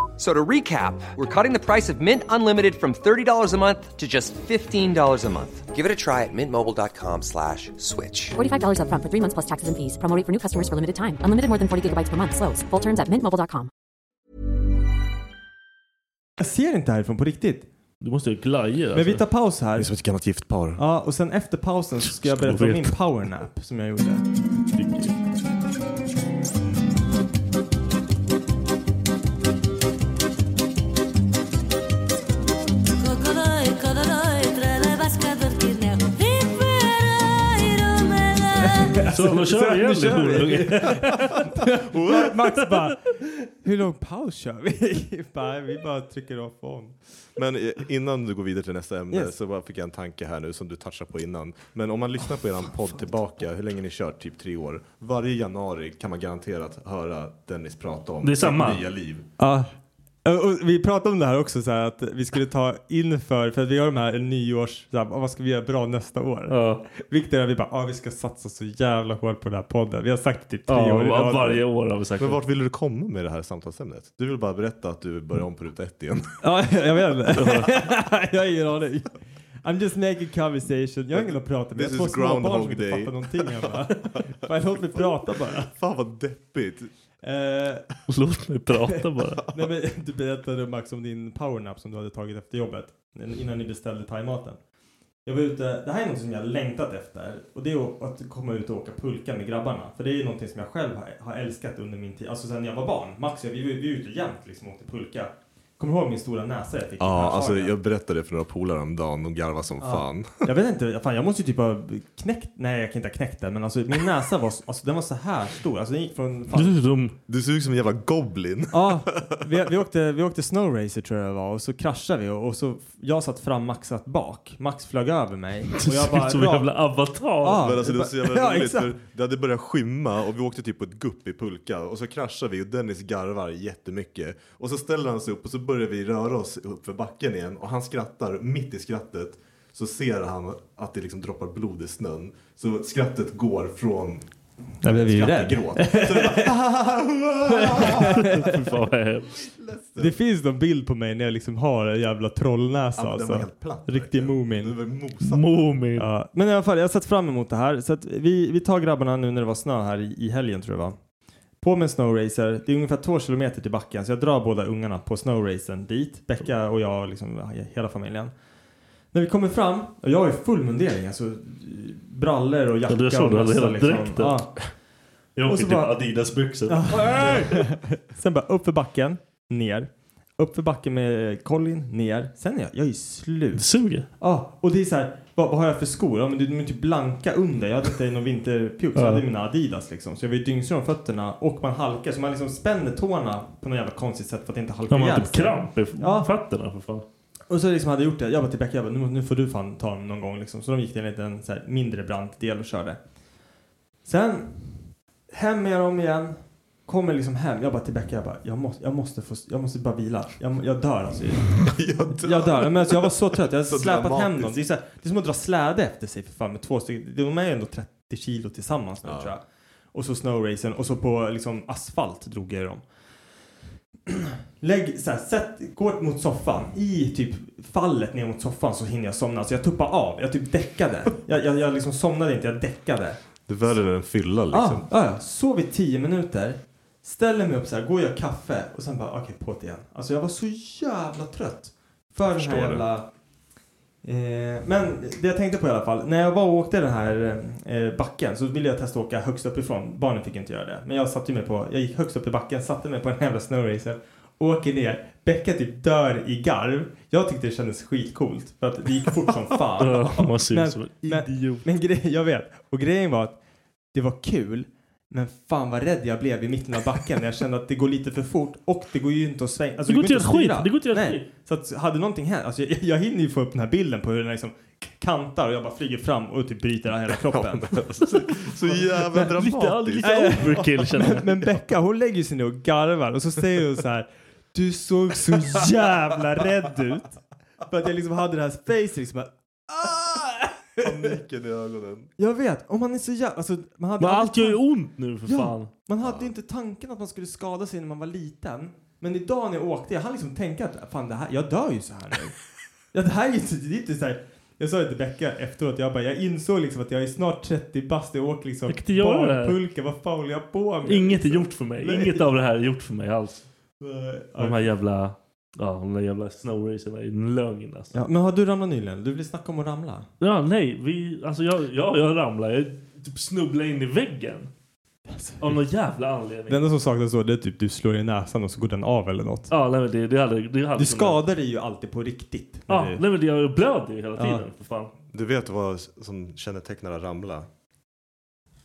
So to recap, we're cutting the price of Mint Unlimited from $30 a month to just $15 a month. Give it a try at mintmobile.com slash switch. $45 upfront for three months plus taxes and fees. Promo rate for new customers for limited time. Unlimited more than 40 gigabytes per month. Slows. Full terms at mintmobile.com. Jag ser inte härifrån på riktigt. Du måste ju alltså. glaja. Men vi tar paus Det är här. som ett gammalt gift par. Ja, och sen efter pausen så ska jag Ska du berätta om min veta. powernap som jag gjorde. Så då kör vi igen. Alltså, Så, nu kör vi. horunge. Ma- Max bara, hur lång paus kör vi? bara, vi bara trycker av on. Men eh, innan du går vidare till nästa ämne Yes. så bara fick jag en tanke här nu som du touchade på innan. Men om man lyssnar på eran podd tillbaka, hur länge ni kört, typ tre år. Varje januari kan man garanterat höra Dennis prata om Det är samma. sitt nya liv. Ja. Och- och Vi pratade om det här också, så här, att vi skulle ta inför, för att vi har de här nyårs, så här, vad ska vi göra bra nästa år? Ja. Vilket är att vi bara, ah, vi ska satsa så jävla hårt på den här podden. Vi har sagt det typ tre år i Ja, rad. varje år har vi sagt Men det. vart ville du komma med det här samtalsämnet? Du vill bara berätta att du börjar om på ruta ett igen. Ja, jag vet inte. jag har ingen aning. I'm just making conversation. Jag har ingen att prata med. This Jag har is två små barn som Groundhog inte Day. fattar någonting hemma. Bara, låt mig prata bara. Fan vad deppigt. Eh, Låt mig prata bara. nej, men, du berättade Max om din powernap som du hade tagit efter jobbet. Innan ni beställde thaimaten. Jag var ute, det här är något som jag har längtat efter. Och det är att komma ut och åka pulka med grabbarna. För det är ju någonting som jag själv har, har älskat under min tid. Alltså sen jag var barn. Max och jag, vi, var- vi var ute jämt liksom och åkte pulka. Kommer du ihåg min stora näsa jag fick? i Ja, alltså Pershagen? jag berättade för några polare om dagen, de garvade som fan. Jag vet inte, fan jag måste ju typ ha knäckt, nej jag kan inte ha knäckt den men alltså min näsa var, alltså den var så här stor, alltså den gick från, fan. Du är dum. Du ser ut som en jävla goblin. Ja, vi, vi åkte, vi åkte snowracer tror jag det var och så kraschade vi och, och så, jag satt fram, Max satt bak. Max flög över mig Du och jag ser bara, ut som en jävla avatar. Ja. Men alltså det var så jävla Ja, roligt exakt. för det hade börjat skymma och vi åkte typ på ett gupp i pulka och så kraschar vi och Dennis garvar jättemycket och så ställer han sig upp och så börjar vi röra oss upp för backen igen och han skrattar mitt i skrattet så ser han att det liksom droppar blod i snön så skrattet går från nej men vi är ju skratt till rädda. gråt. Så det bara, Fy fan vad hemskt. Det finns någon bild på mig när jag liksom har en jävla trollnäsa Ja, den var alltså. helt platt. Riktig verkligen. Moomin. Det var mosat. Moomin. Ja, men i alla fall, jag har sett fram emot det här. Så att vi, vi tar grabbarna nu när det var snö här i, i helgen tror jag va. På med en snowracer. Det är ungefär två kilometer till backen så jag drar båda ungarna på snowracern dit. Becka och jag, liksom ja, hela familjen. När vi kommer fram, och jag har ju full mundering, alltså eh, brallor och jacka Ja, du såg, och du hade mössa, liksom. hela dräkten. Ja. Jag Och åker så typ bara- Adidas-byxor. Sen bara upp för backen, ner. Upp för backen med Colin, ner. Sen är jag, jag är ju slut. Det suger. Ja, och det är så här, vad, vad har jag för skor? Ja, men de de är typ blanka under. Jag hade inte någon vinterpjuck, så jag Ja. hade mina Adidas liksom. Så jag var ju dyngsur om fötterna och man halkar, så man liksom spänner tårna på något jävla konstigt sätt för att inte halka De har ihjäl typ sig. kramp i Ja. fötterna för fan. Och så liksom hade jag gjort det. Jag bara till Becka, jag bara, nu, nu får du fan ta dem någon gång liksom. Så de gick till en liten så här, mindre brant del och körde. Sen hem med dem igen. Kommer liksom hem. Jag bara till Becka, jag bara, jag måste, jag måste, få, jag måste bara vila. Jag, jag dör alltså. Jag dör. Jag dör. Men alltså, jag var så trött. Jag hade Så släpat hem dramatiskt. dem. Det är, så här, det är som att dra släde efter sig för fan med två stycken. De är ju ändå 30 kilo tillsammans nu Ja. tror jag. Och så snowracen och så på liksom asfalt drog jag ju dem. Lägg så här, sätt, gå mot soffan. I typ fallet ner mot soffan så hinner jag somna. Så jag tuppade av. Jag typ däckade. Jag, jag, jag liksom somnade inte. Jag däckade. Det är värre än en fylla liksom. Ah, ah, ja, sov i tio minuter. Ställer mig upp så här, går och gör kaffe och sen bara okej, på det igen. Alltså jag var så jävla trött. För den förstår här det. jävla... Eh, men det jag tänkte på i alla fall, när jag var och åkte den här eh, backen så ville jag testa att åka högst uppifrån. Barnen fick inte göra det. Men jag satte mig på, jag gick högst upp i backen, satte mig på den här jävla snowracern. Åker ner, Becka typ dör i garv. Jag tyckte det kändes skitcoolt för att det gick fort som fan. Ja, Man ser Men- ut som en men- idiot. Men grej, jag vet. Och grejen var att det var kul. Men fan vad rädd jag blev i mitten av backen. Jag kände att det går lite för fort och det går ju inte att svänga. Alltså, Det går inte att att göra skit. styra. Det går inte att göra Nej. skit. Så att, hade någonting hänt. Alltså, jag, jag hinner ju få upp den här bilden på hur den liksom kantar och jag bara flyger fram och typ bryter hela kroppen. Så jävla Lite, all- dramatiskt. lite overkill känner jag. Men Becka hon lägger sig ner och garvar och så säger hon så här. Du såg så jävla rädd ut. För att jag liksom hade det här face liksom. att, "Ah!" Paniken i ögonen. Jag vet, om man är så jävla... Alltså, man hade Men aldrig allt gör ju tan- ont nu för Ja. fan. Man hade ju inte tanken att man skulle skada sig när man var liten. Men idag när jag åkte, jag hann liksom tänka att fan det här, jag dör ju så här nu. ja, det här är ju inte, det är inte så här. Jag sa det till Becka efteråt, jag bara, jag insåg liksom att jag är snart 30 bast, jag åker liksom Jag kan inte göra det här. barnpulka, vad fan håller jag på med? Inget är gjort för mig. Nej. Inget av det här är gjort för mig alls. De Ja. här jävla... Ja, de där jävla snowracerna är en lögn alltså. Ja, men har du ramlat nyligen? Du vill snacka om att ramla. Ja, nej. Vi, alltså jag, ja, jag ramlade. Jag typ snubblade in i väggen. Av någon jävla anledning. Det enda som saknas då det är typ du slår i näsan och så går den av eller något. Ja, nej, men det, det hade... Det hade Du skadar dig ju alltid på riktigt. när Ja, du- nej, men det, jag blöder ju hela Ja. tiden för fan. Du vet vad som kännetecknar att ramla?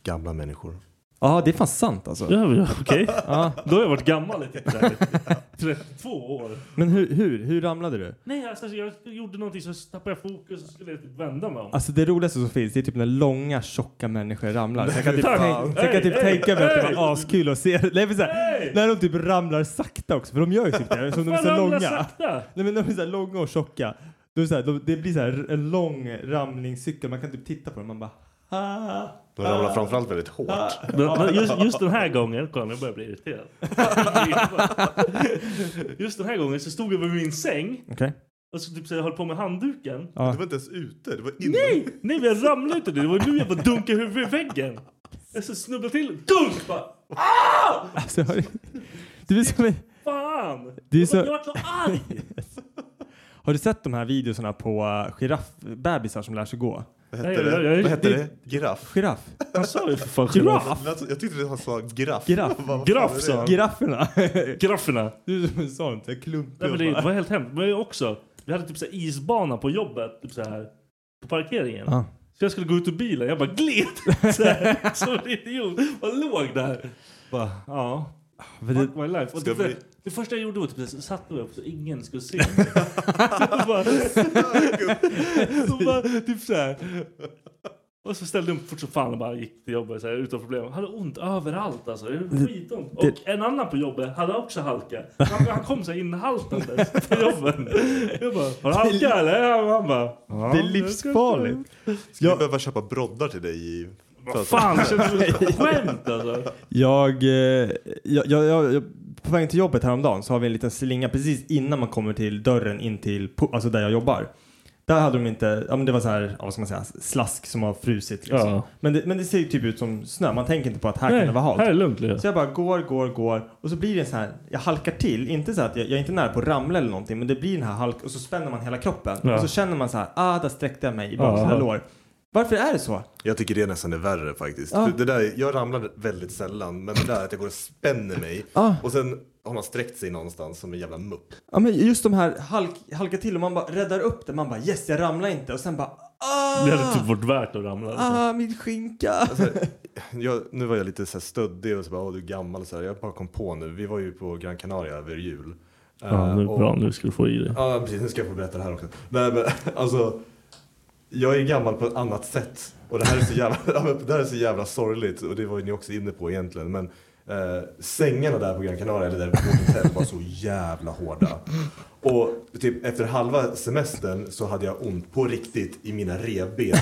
Gamla människor. ja, det är fan sant alltså. Ja, men, Okej. Ja. Då har jag varit gammal i typ så här 32 år. Men hur, hur, hur ramlade du? Nej, alltså jag gjorde någonting så tappade jag fokus och skulle jag typ vända mig om. Alltså det roligaste som finns det är typ när långa tjocka människor ramlar. Så jag kan typ, fan. tänk, så jag kan Hey, typ hey, tänka mig att det hey. var askul att se. Nej, men så här, Hey. När de typ ramlar sakta också, för de gör ju typ det. Som de är Fan, så ramla långa. sakta! Nej men de är så här långa och tjocka. De är så här, de, det blir så här en lång ramlingscykel. Man kan typ titta på den man bara "Ah." De ramlar framförallt väldigt hårt. Men, men just, just den här gången, kolla nu börjar jag bli irriterad. Just den här gången så stod jag vid min säng Okej. och så typ så jag höll på med handduken. Du var inte ens ute. Det var inne. Nej! Nej men jag ramlade inte. Det var nu jag bara dunkade huvudet i väggen. Jag så snubblade till. Dunk! Bara, Alltså, har du, du, är som, fan! du är Jag så, vart så arg! har du sett de här videorna på uh, giraffbebisar som lär sig gå? Vad Nej, hette jag- det? jag- Vad hette det- det? Giraff. Giraff? Han sa ju för fan Giraff. Lät som- Alltså, Jag tyckte det han sa giraff. Giraff. Vad fan är Giraff det? sa han. Girafferna? Girafferna. du är som en sån, så här klumpig. Nej, men det och bara- var helt hemskt. Men jag också, vi hade typ så här isbana på jobbet, typ så här, på parkeringen. Ja. Så jag skulle gå ut ur bilen, jag bara gled så här, som en idiot. Och låg där. Bara, ja. Men det- Fuck my life. Och Ska typ, så här, vi- Det första jag gjorde var typ så här, satt mig upp så ingen skulle se mig. så bara, så bara typ så här. Och så ställde jag upp fort som fan och bara gick till jobbet så här, utan problem. Hade ont överallt alltså. Det var skitont. Och en annan på jobbet hade också halka. Han, han kom så här inhaltandes till jobbet. Jag bara, har du halka eller? Och Han bara, "Ja, Det är livsfarligt. Skulle vi behöva köpa broddar till dig i... Vad fan, det känns som ett skämt alltså. Jag, eh, jag, jag, jag, jag, på vägen till jobbet häromdagen så har vi en liten slinga precis innan man kommer till dörren in till, po- alltså där jag jobbar. Där hade de inte, ja men det var så här, ja, vad ska man säga, slask som har frusit liksom. Ja. Men, det, men det ser ju typ ut som snö, man tänker inte på att här kan det vara halt. här är lugnt Leo. Så jag bara går, går, går och så blir det så här, jag halkar till, inte så att jag, jag är inte nära på att ramla eller någonting men det blir den här halk och så spänner man hela kroppen Ja. och så känner man så här, ah där sträckte jag mig i baksida Ja. lår. Varför är det så? Jag tycker det nästan är värre faktiskt. Ja. För Det där, jag ramlar väldigt sällan, men det där att jag går och spänner mig Ja. och sen har man sträckt sig någonstans som en jävla mupp. Ja men just de här halk, halka till och man bara räddar upp det. Man bara yes jag ramlar inte och sen bara ah, Det hade typ varit värt att ramla. Alltså. ah min skinka. Jag, nu var jag lite så här stöddig och så bara, åh du är gammal och så här. Jag bara kom på nu, vi var ju på Gran Canaria över jul. Ja, Eh, nu, och- bra, nu ska du få i dig. Ja, precis. Nu ska jag få berätta det här också. Nej, men alltså. Jag är gammal på ett annat sätt. Och det här är så jävla, ja, men det här är så jävla sorgligt. Och det var ju ni också inne på egentligen. Men eh, sängarna där på Gran Canaria, eller där på vårt hotell, var så jävla hårda. Och typ efter halva semestern så hade jag ont på riktigt i mina revben.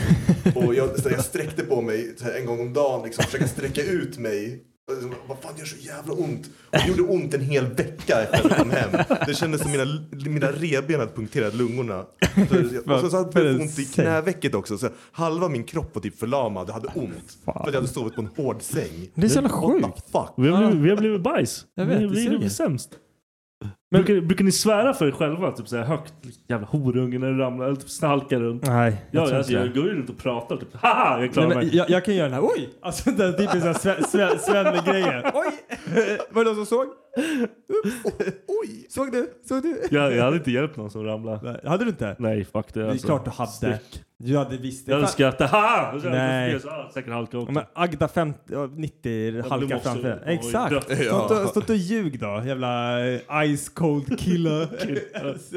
Och jag, så jag sträckte på mig så här en gång om dagen, liksom försöka sträcka ut mig. Och liksom, Vad fan det gör så jävla ont? Och det gjorde ont en hel vecka efter att jag kom hem. Det kändes som mina, mina revben hade punkterat lungorna. Så, och sen så hade jag ont i knävecket också. Så halva min kropp var typ förlamad och hade ont. För att jag hade sovit på en hård säng. Det är så jävla What the sjukt. fuck? Vi har blivit, vi har blivit bajs. Jag vet, vi, det vi är suger. blivit sämst. brukar, brukar ni svära för er själva? Typ såhär högt. Jävla horunge när du ramlar. Eller typ snalkar runt. Nej Ja, tror jag, inte jag, det. går ju runt och pratar. Typ haha, jag klarar Nej, men mig. jag, jag kan göra den här oj. Alltså den typiska sve, sve, svenne-grejen. Oj! Var det någon som såg? Oj! Såg du? Såg du? Jag, jag hade inte hjälpt någon som ramlade. Nej, Hade du inte? Nej, fuck det. Det är alltså. klart du hade. Du hade visst Jag hade det. skrattat. Haha! Och så hade Nej. jag fått fel, så, ah, Säkert halka Ja, också. Men Agda 50, ja, 90 halkar måste- framför dig. oj, Exakt. dött. Stå inte- Stå inte och ljug då, jävla eh, ice cold killer.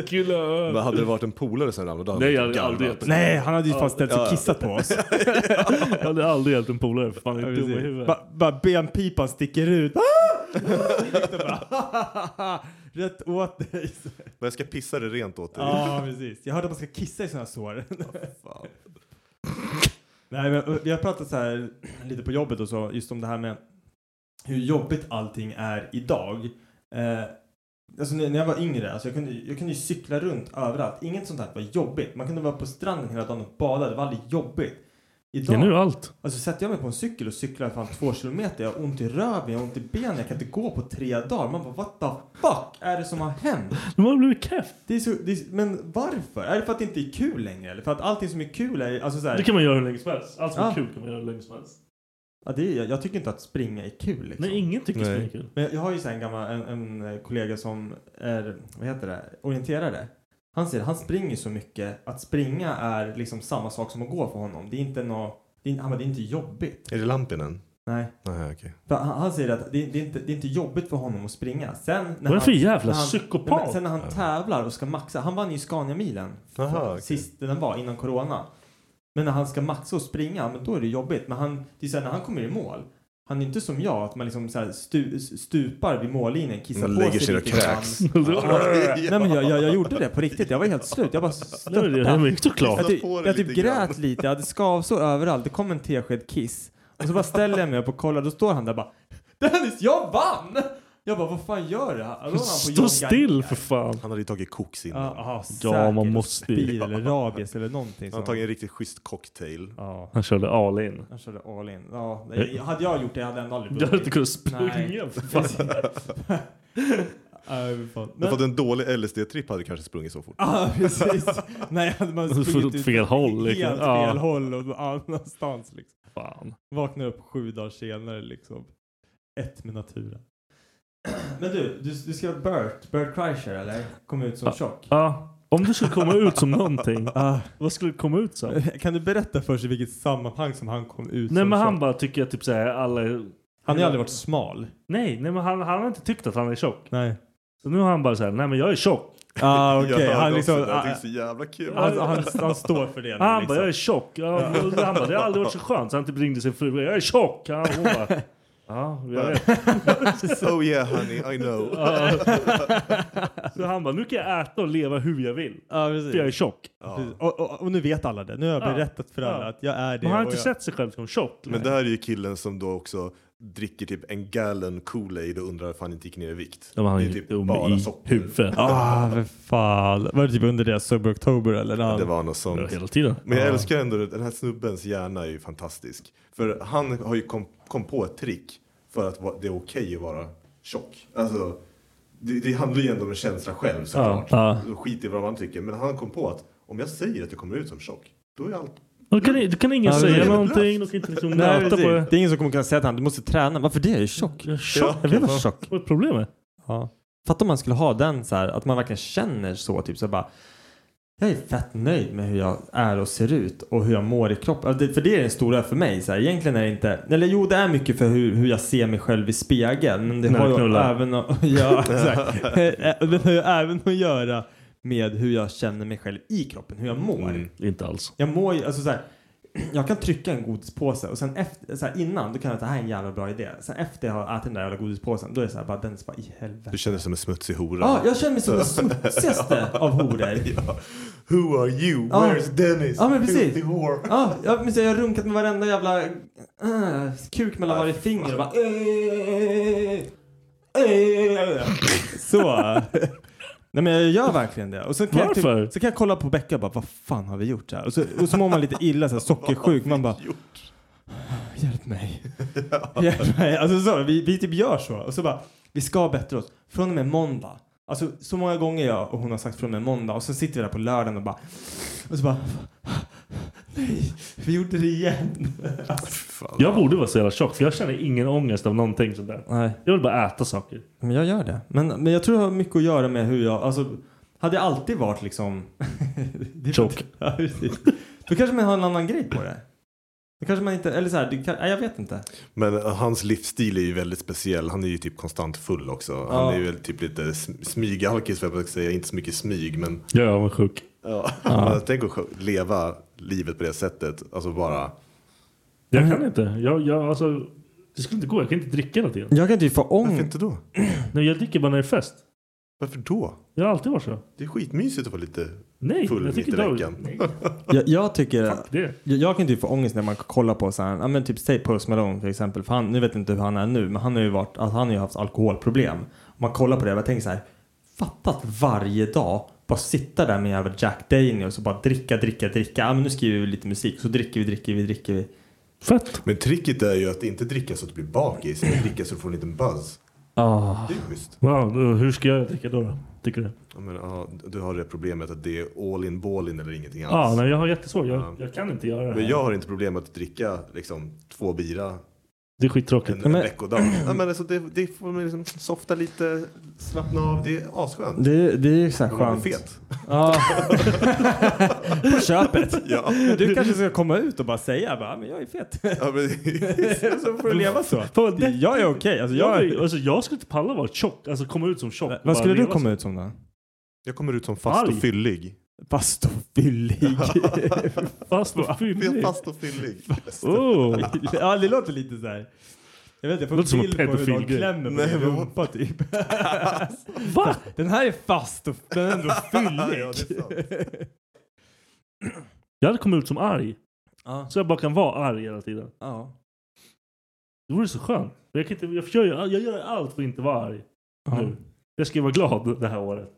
Killa! Men hade det varit en polare som ramlade av? Nej, jag hade aldrig gett. Nej, han hade ju fan ställt sig och kissat på oss. Jag hade aldrig hjälpt en polare. För fan, jag är dum i Bara huvudet. ba bara benpipan sticker ut. Ah! Och bara, Rätt åt dig. Men jag ska pissa det rent åt dig. Ja, precis. Jag hörde att man ska kissa i sådana sår. Fan. Nej, men eh, vi har pratat så här lite på jobbet och så, just om det här med hur jobbigt allting är idag. Eh, alltså när när jag var yngre, alltså jag, kunde, jag kunde ju cykla runt överallt. Inget sånt här var jobbigt. Man kunde vara på stranden hela dagen och bada. Det var aldrig jobbigt. Det är Idag, nu allt. alltså sätter jag mig på en cykel och cyklar fan två kilometer. Jag har ont i röven, jag har ont i benen, jag kan inte gå på tre dagar. Man bara what the fuck är det som har hänt? Nu har man blivit keff. Det är så, det är, så- men varför? Är det för att det inte är kul längre? Eller för att allting som är kul är, alltså så här, Det kan man göra hur länge som helst. Allt som Ja. är kul kan man göra hur länge som helst. ja, det är, jag, jag tycker inte att springa är kul liksom. Nej, ingen tycker Nej. spring är kul. Men jag- jag har ju så här en, gammal, en, en eh, kollega som är, vad heter det, orienterare. Han säger han springer så mycket att springa är liksom samma sak som att gå för honom. Det är inte nå, det är, han bara, det är inte jobbigt. Är det Lampinen? Nej, Nej, okej. för han, han säger att det, det, är inte, det är inte jobbigt för honom att springa. Sen när Vad är det för han, jävla när han- Nej, men psykopat? sen när han tävlar och ska maxa, han vann ju Scania-milen Aha, okej. sist den var innan corona. Men när han ska maxa och springa, men då är det jobbigt. Men han, det är så här, när han kommer i mål, han är inte som jag att man liksom så här stu, stupar vid mållinjen, kissar Man på lägger sig och lite grann. kräks. Nej men jag, jag, jag gjorde det på riktigt, jag var helt slut. Jag bara Det är det. Ja, stöttade. men Såklart. Jag, typ- på det jag typ lite grann. grät lite, jag hade skavsår överallt, det kom en tesked kiss. Och så bara ställer jag mig upp och kollar, då står han där bara Dennis, jag vann! Jag bara, vad fan gör du? här? Då var han på Stå John still Gardner. för fan. Han hade ju tagit koks innan. Ja, aha, Ja, säkert. man måste ju. Bil eller rabies eller någonting. Han som- har tagit en riktigt schysst cocktail. Ja, Han körde all in. han körde all in. Ja, nej, jag- hade jag gjort det hade jag ändå aldrig Du Eh. hade inte kunnat springa Nej. för fan. Ja, fy fan. Men... Men- Fått en dålig LSD-tripp hade kanske sprungit så fort. Ja, precis. Nej, hade man Åt sprungit ut fel håll, Helt liksom. fel Ja. håll och någon annanstans. Liksom. fan. Vaknar upp sju dagar senare liksom. Ett med naturen. Men du, du, du skrev Bert, Bert Kreischer eller? Kom ut som Ja. tjock. Ja, om du skulle komma ut som någonting. Ah. Vad skulle du komma ut som? Kan du berätta för sig i vilket sammanhang som han kom ut Nej som men han tjock? bara tycker att typ såhär alla är... Han har ju aldrig varit smal. Nej, nej men han, han har inte tyckt att han är tjock. Nej. Så nu har han bara såhär, nej men jag är tjock. Ah, okej. Jag Han, hörde också liksom, det. Jag ah, tyckte det var så jävla kul. han, han, han står för det. nu, Han liksom. bara, jag är tjock. Ja, och han bara, det har aldrig varit så skönt. Så han typ ringde sin fru, jag är tjock. Ja, hon bara, ja, jag vet. Oh yeah honey, I know. Så han bara, nu kan jag äta och leva hur jag vill. Ja, För jag är precis. tjock. Precis. Och, och, och nu vet alla det. Nu har jag Ja. berättat för alla Ja. att jag är det. Men han har och inte jag... sett sig själv som tjock. Men det här är ju killen som då också dricker typ en gallon Kool-Aid och undrar ifall han inte gick ner i vikt. Ja, men han det är är ju typ dum bara i socker. huvudet. Ah, för fan. Var det typ under deras Sober October eller? när han- Det var något sånt. Hela tiden. Men jag älskar ändå att den här snubbens hjärna är ju fantastisk. För han har ju kom, kom på ett trick för att va- det är okej att vara tjock. Alltså, det, det handlar ju ändå om en känsla själv såklart. Ja. Skit i vad man tycker. Men han kom på att om jag säger att jag kommer ut som tjock, då är allt... Då kan, då kan ingen Ja, det säga är någonting. De kan inte liksom Nej, nöta precis. på det. det är ingen som kommer kunna säga till honom du måste träna. Varför det? Jag är tjock. Jag är tjock. Jag vill vara tjock. Vad är problemet? Ja. Fatta om man skulle ha den så här, att man verkligen känner så. Typ så här bara, jag är fett nöjd med hur jag är och ser ut och hur jag mår i kroppen. Alltså, det- För det är det stora för mig. Så här. Egentligen är det inte, eller jo det är mycket för hur, hur jag ser mig själv i spegeln. Men det När du har ju knullar. även att, ja, exakt. Men det har ju även att göra med hur jag känner mig själv i kroppen, hur jag mår. Mm. Inte alls. Jag mår ju, alltså så här, jag kan trycka en godispåse och sen efter, så här, innan då kan jag ta det här är en jävla bra idé. Sen efter jag har ätit den där jävla godispåsen då är det så här bara Dennis bara i helvete. Du känner dig som en smutsig hora. Ja, jag känner mig som den smutsigaste av horor. Ja. Who are you? Ja. Where's Dennis? Ja, men precis. Filthy whore. Ja, jag, men så jag har runkat med varenda jävla äh, kuk mellan varje finger och bara äh, äh, äh. Så. Nej men jag gör verkligen det. Och så kan, jag, typ, Varför? så kan jag kolla på Becka och bara vad fan har vi gjort här? Och så, och så mår man lite illa så här, sockersjuk. Man bara Hjälp mig. Hjälp mig. Alltså så, vi, vi typ gör så. Och så bara, vi ska bättre oss. Från och med måndag. Alltså så många gånger jag och hon har sagt från och med måndag. Och så sitter vi där på lördagen och bara. Och så bara. Nej, vi gjorde det igen. Jag borde vara så jävla tjock. För jag känner ingen ångest av någonting sånt där. Nej, Jag vill bara äta saker. men jag gör det. Men, men jag tror det har mycket att göra med hur jag, alltså. Hade jag alltid varit liksom. det är för- Tjock. Ja, precis. Då kanske man har en annan grej på det. Då kanske man inte, eller så här, det, kan- nej, jag vet inte. Men eh, hans livsstil är ju väldigt speciell. Han är ju typ konstant full också. Han är ju väl typ lite sm- smygalkis, för att säga. Inte så mycket smyg, men Ja, jag var sjuk. ja. Men tänk att sjö- leva livet på det sättet. Alltså bara... Jag kan inte. Jag, jag, alltså, det skulle inte gå. Jag kan inte dricka hela tiden. Jag kan ju få Mm. Varför ångest. inte då? Nej, jag dricker bara när det är fest. Varför då? Jag har alltid varit så. Det är skitmysigt att vara lite... Nej, Full jag tycker mitt i inte veckan. om- Nej, Jag, jag tycker... fuck det. Jag, jag kan ju typ få ångest när man kollar på så här, ja, men typ säg Post Malone till exempel. För han, nu vet jag inte hur han är nu, men han har ju varit, alltså, han har ju haft alkoholproblem. Man kollar på det och jag tänker så här, fattat varje dag bara sitta där med jävla Jack Daniels och bara dricka, dricka, dricka. Ja, men nu skriver vi lite musik, så dricker vi, dricker vi, dricker vi. Fett. Men tricket är ju att inte dricka så att du blir bakis, utan dricka så du får en liten buzz. Ah. Det är ju schysst. Wow, då- hur ska jag dricka då? då? Tycker du? Ja, men, ja, du har det problemet att det är all in ball in eller ingenting Ja, alls. nej, jag har jättesvårt. Ja. Jag, jag kan inte göra det men här. jag har inte problem med att dricka liksom, två bira Det är en skittråkigt. en men- veckodag. Ja, men alltså, det, det får man liksom softa lite, slappna av. Det är asskönt. Det, det är ju så här Om man är skönt. Ah. fet. Ja. på köpet. Ja. Du kanske ska komma ut och bara säga, bara, "Ja, men jag är fet. Ja, men, så får du leva så. Fan, vad deppigt. Jag är okej. Alltså, Jag, jag är- alltså, jag skulle inte palla vara tjock. Alltså komma ut som tjock. och bara Vad skulle du leva komma ut som då? jag kommer ut som fast och Arg. fyllig. Fast och fyllig. så? Fast och fyllig. Fast och fyllig. Oh. ja, det låter lite så här. Jag vet inte, jag Låter får som en en bild på hur de pedofilgrej. klämmer på Nej, din men vad- rumpa typ. Va? Den här är fast och den är ändå fyllig. Ja, det är Jag hade kommit ut som arg. ja. Så jag bara kan vara arg hela tiden. ja. Det vore så skönt. Men Jag, kan inte, jag, gör, jag gör allt för att inte vara arg. Nu. Jag ska ju vara glad det här året.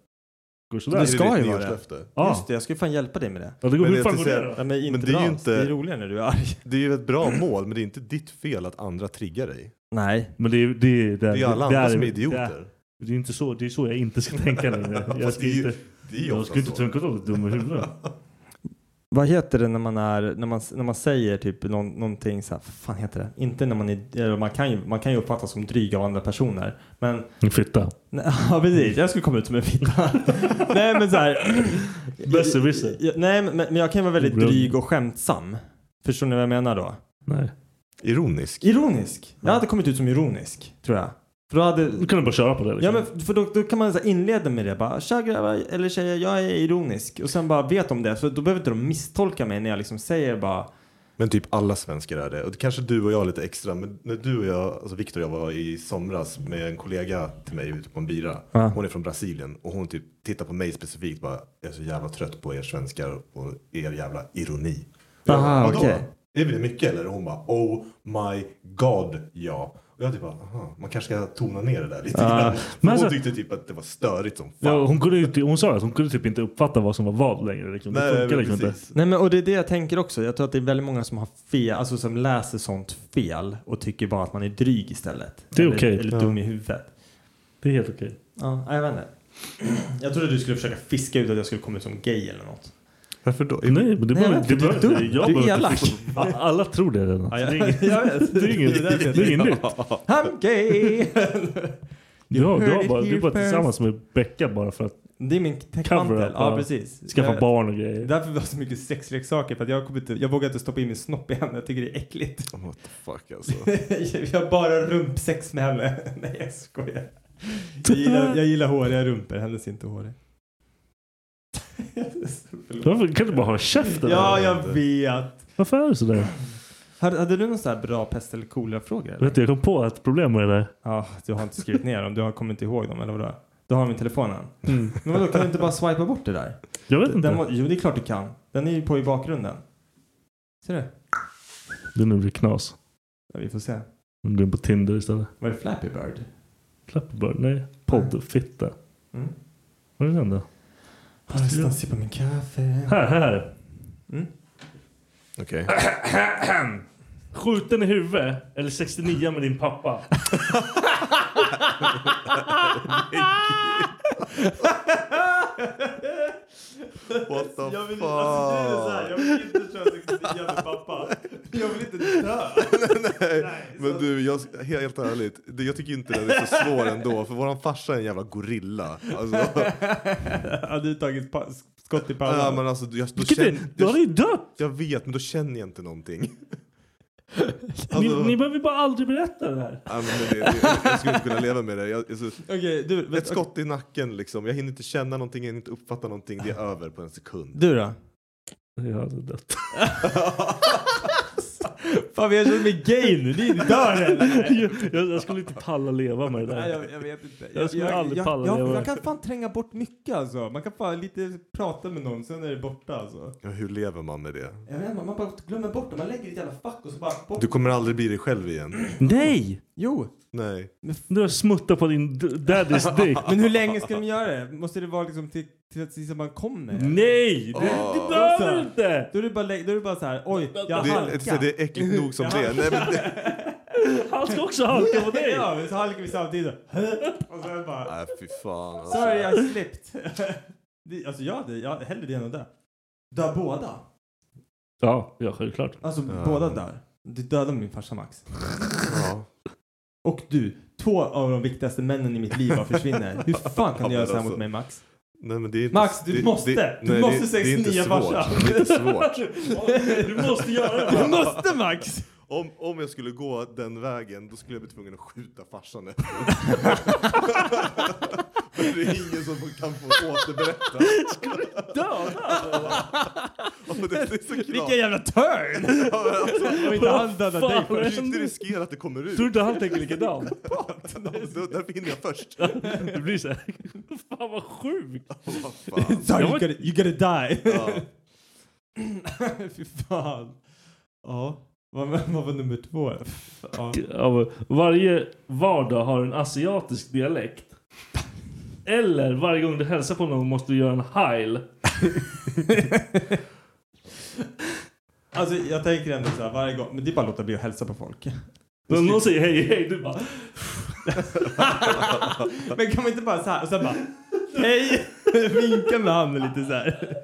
Går sådär. Det ska är ju ditt vara nyårslöfte. Ja. Just det, jag ska ju fan hjälpa dig med det. Ja, det går, Men hur jag fan går tänkte det säga- då? Nej, men, inte Men det är ju alls. inte- det är roligare när du är arg. Det är ju ett bra mål, men det är inte ditt fel att andra triggar dig. Nej. Men det är det, är- det, Det är ju alla det andra som är Det idioter. är, det är inte så, det är så jag inte ska tänka längre. Jag Fast ska det är ju- inte, Det är ju jag ofta ska inte så. tänka att jag är dum i huvudet. Vad heter det när man är, när man, när man säger typ någon, någonting så här, vad fan heter det? Inte när man är, eller man kan ju, man kan ju uppfattas som dryg av andra personer. Men, Fitta. nej, ja precis, jag skulle komma ut som en fitta. nej men så här. Besserwisser. Jag- Nej, men, men jag kan vara väldigt Obröd. dryg och skämtsam. Förstår ni vad jag menar då? Nej. Ironisk. Ironisk. Jag hade kommit ut som ironisk, tror jag. För då hade... Då kan du bara köra på det. Ja, Liksom. men för då, då kan man så här inleda med det. Bara, Tja grabbar eller tjejer, jag är ironisk. Och sen bara vet om det. Så då behöver inte de misstolka mig när jag liksom säger bara... Men typ alla svenskar är det. Och kanske du och jag lite extra. Men när du och jag, alltså Viktor och jag var i somras med en kollega till mig ute på en bira. Ja. Hon är från Brasilien och hon typ tittar på mig specifikt bara. Jag är så jävla trött på er svenskar och er jävla ironi. Jag bara, Aha, "Vadå? okej. Är det mycket eller? Och hon bara oh my god ja. Och jag typ bara aha, man kanske ska tona ner det där lite grann. För men hon alltså- tyckte typ att det var störigt som fan. Ja, hon, kunde ju, inte- hon sa att hon kunde typ inte uppfatta vad som var vad längre. Liksom. Det Nej, funkar men liksom inte. precis. Nej, men och det är det jag tänker också. Jag tror att det är väldigt många som har fel, alltså som läser sånt fel och tycker bara att man är dryg istället. Det är Eller- okej. Eller Ja. dum i huvudet. Det är helt okej. Ja, jag vet inte. Jag trodde du skulle försöka fiska ut att jag skulle komma ut som gay eller något. Varför då? Nej, men det Nej, jag behöver vet inte. Du inte. är behöver dum. inte- Jag Du är behöver elak. inte. A- Alla tror det redan. jag, det är inget, jag vet. det är inget, Det där vet jag det är inget inte. nytt. I'm gay! Du, har, du, heard har it bara, du är here bara first. tillsammans med Becka bara för att Det är min Cover täckmantel. up, Ja, ja. precis. skaffa Jag- barn och Det är grejer. därför vi har så mycket sexleksaker. För att jag, kommer inte, jag vågar inte stoppa in min snopp i henne. Jag tycker det är äckligt. What the fuck alltså. Oh. jag har bara rumpsex med henne. Nej, jag skojar. Jag gillar, jag gillar håriga rumpor. Hennes är inte hårig. Varför kan du bara ha käften? ja, jag vet. Varför är du sådär? Hade, hade du någon sån här bra pest eller kolera-fråga? eller? Vet du, jag kom på ett problem med det där. Ja, du har inte skrivit ner dem. Du har kommit inte ihåg dem, eller vadå? Du har dem i telefonen? Mm. Men vadå, kan du inte bara swipa bort det där? Jag vet Den inte. må, jo, det är klart du kan. Den är ju på i bakgrunden. Ser du? Det nu blir knas. Ja, vi får se. Om du är på Tinder istället. Var det Flappy Bird? Clapperbird? Nej. Poddfitta. Mm. Vad är den då? Har nästan sippat min kaffe. Här, här. Okej. Skjuten i huvudet eller 69 med din pappa? What the Jag vill, fuck. alltså, det är så här, jag vill inte köra 69 med pappa. Jag vill inte dö. Nej, men du, jag, helt ärligt, det- jag tycker inte den är så svår ändå. För våran farsa är en jävla gorilla. Alltså, Hade du tagit pa- skott i ja, pannan? men alltså, jag, då Vilket är, känner, du hade ju jag, dött! jag vet, men då känner jag inte någonting. Alltså- Ni, ni behöver bara aldrig berätta det här. Ja, men det, det, jag skulle inte kunna leva med det. Jag, alltså, Okej, du, vet- ett skott i nacken liksom. Jag hinner inte känna någonting, jag hinner inte uppfatta någonting. Det är över på en sekund. Du då? Jag hade dött. Fan vi har känt mig gay nu, ni dör eller? jag, jag skulle inte palla leva med det där. Nej, jag, jag vet inte. Jag skulle aldrig jag, palla jag, det. jag, jag kan fan tränga bort mycket alltså. Man kan fan lite prata med någon, sen är det borta alltså. Ja, hur lever man med det? Jag vet inte, man bara glömmer bort det. Man lägger i ett jävla fack och så bara bort. Du kommer aldrig bli dig själv igen. Nej! Jo, Nej. Du har smuttat på din d- daddy's dick. men hur länge ska de göra det? Måste det vara liksom till, till att tills man kommer? Nej! Det, det behöver du Åh. inte! Då är det bara, lä- då är det bara så här, oj, jag Det, halkar. det, det är äckligt nog som det är. Nej, men det, Han ska också halka på dig! Ja, men så halkar vi samtidigt. Och sen bara, nej, fy fan. Alltså. sorry I slipped. Det- alltså jag hade, jag, hellre det än att dö. Dö båda. Ja, ja självklart. Alltså Ja. båda där. Du dödade min farsa Max. Ja. Och du, två av de viktigaste männen i mitt liv bara försvinner. Hur fan Ja, kan men du göra så här alltså. mot mig Max? Nej, men det är inte, Max, du det, måste! det- Du nej, det- måste det är inte 69 svårt. farsa. Det är inte svårt. Du måste göra Du det! måste Max! Om, om jag skulle gå den vägen då skulle jag bli tvungen att skjuta farsan nu. Men det är ingen som kan få återberätta. Ja, men det är så Vilken klart. jävla turn! Ja, men alltså, Och inte han dödade dig Fan. först. jag kan inte riskera att det kommer ut. Tror du inte han tänker likadant? Då- Därför hinner jag först. Det blir så här. Fan vad sjukt! Vad Sorry, fan. Jag you var- gotta, you gotta die. Ja. Fy fan. Ja, vad, vad var nummer två? Ja. Ja, men Varje vardag har en asiatisk dialekt. Eller varje gång du hälsar på någon måste du göra en heil. Alltså jag tänker ändå så här varje gång, men det är bara att låta bli att hälsa på folk. När någon säger hej hej, du bara... Men kan man inte bara så här och sen bara hej, vinka med handen lite så här.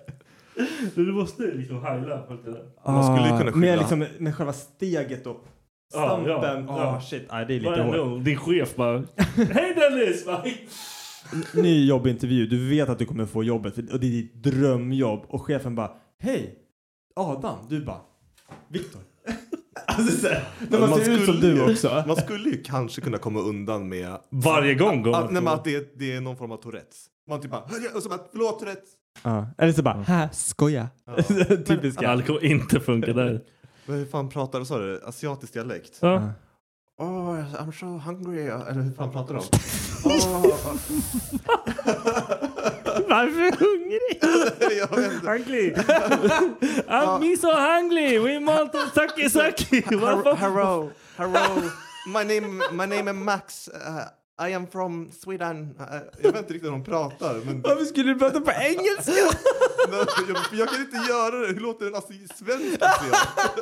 Du måste liksom heila. för att det- Man skulle ju kunna skylla. med, liksom, med själva steget och Ja, stampen. ja, Ah, ja. shit, nej det är lite Varenda hårt. gång din chef bara... Hej Dennis! Bara, "Hej." Ny jobbintervju, du vet att du kommer få jobbet för- och det är ditt drömjobb och chefen bara hej Adam, du bara Viktor. Alltså så här, när man, Man ser ut som skulle- du också. Man skulle ju kanske kunna komma undan med Varje gång går att, nej, men man att det, är, det är någon form av Tourettes. Man typ bara, "Hörru", och så bara, förlåt Tourettes. Ja. Eller så bara här, skoja. Typiska. Ja, det kommer inte funka där. Men hur fan pratar, vad sa du, asiatisk dialekt? Ja. Oh, I'm so hungry. Eller hur fan pratar de? oh, Varför hungrig? jag vet inte. Hungry! I'm me so hungry! We want to sucky sucky! Har- Varför? Hello, hello. My name, my name is Max. Uh, I am from Sweden. Uh, jag vet inte riktigt hur de pratar. Men, Varför skulle du prata på engelska? men jag, jag kan inte göra det. Hur låter en asi- svensk asiat?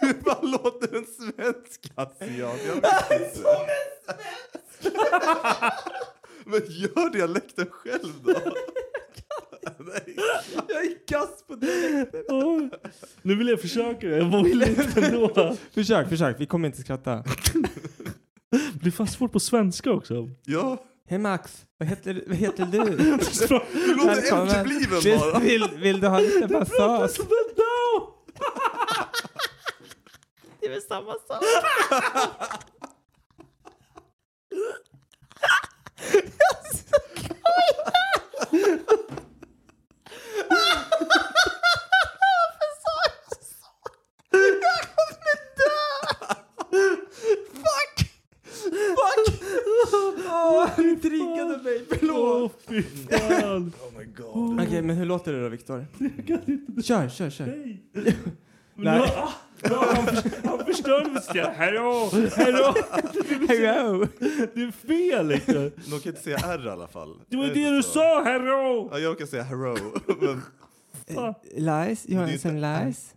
Hur fan låter en svensk asiat? Jag vet inte. Som en svensk! men gör dialekten själv då. Nej. Jag är kass på det. Åh, Nu vill jag försöka, jag vill inte ändå. Försök, försök. Vi kommer inte skratta. Det blir fan svårt på svenska också. Ja, Hej Max, vad heter, vad heter du? du låter efterbliven bara. Vill, vill, vill du ha lite massage? Det är väl samma sak? Åh, du triggade mig. Åh Förlåt. fy fan. Okej, men hur låter det då, Viktor? Kör, kör, kör. Men nu- ah, ja, Han för- han förstörde mitt skratt. Hallå, hallå. Hello! Det är fel liksom. De kan inte säga R i alla fall. Det var Jag ju vet det inte du så. sa, hallå. Ja, jag kan säga hello. Men, Eh, Lies? You Det är want some lies?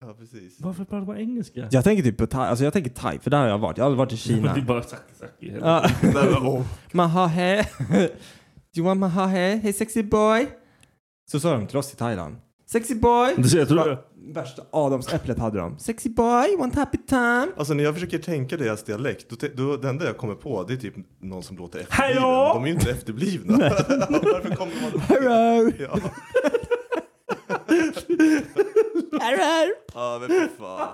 ja, precis. Varför pratar man engelska? Jag tänker typ på thai, alltså jag tänker thai, för där har jag varit. Jag har aldrig varit i Men Kina. det är bara sucky sucky. Ja. Nej, men, åh. Mahahe. Do you want mahahe? Hey sexy boy. Så sa de till oss i Thailand. Sexy boy! Du ser, jag tror Va- Värsta adamsäpplet hade de. Sexy boy, one happy time. Alltså när jag försöker tänka deras dialekt, då, te- då, det enda jag kommer på det är typ någon som låter efterbliven. Hallå? De är ju inte efterblivna. Varför kommer man på det? Hello! Ja. Hello! Ja, men för fan.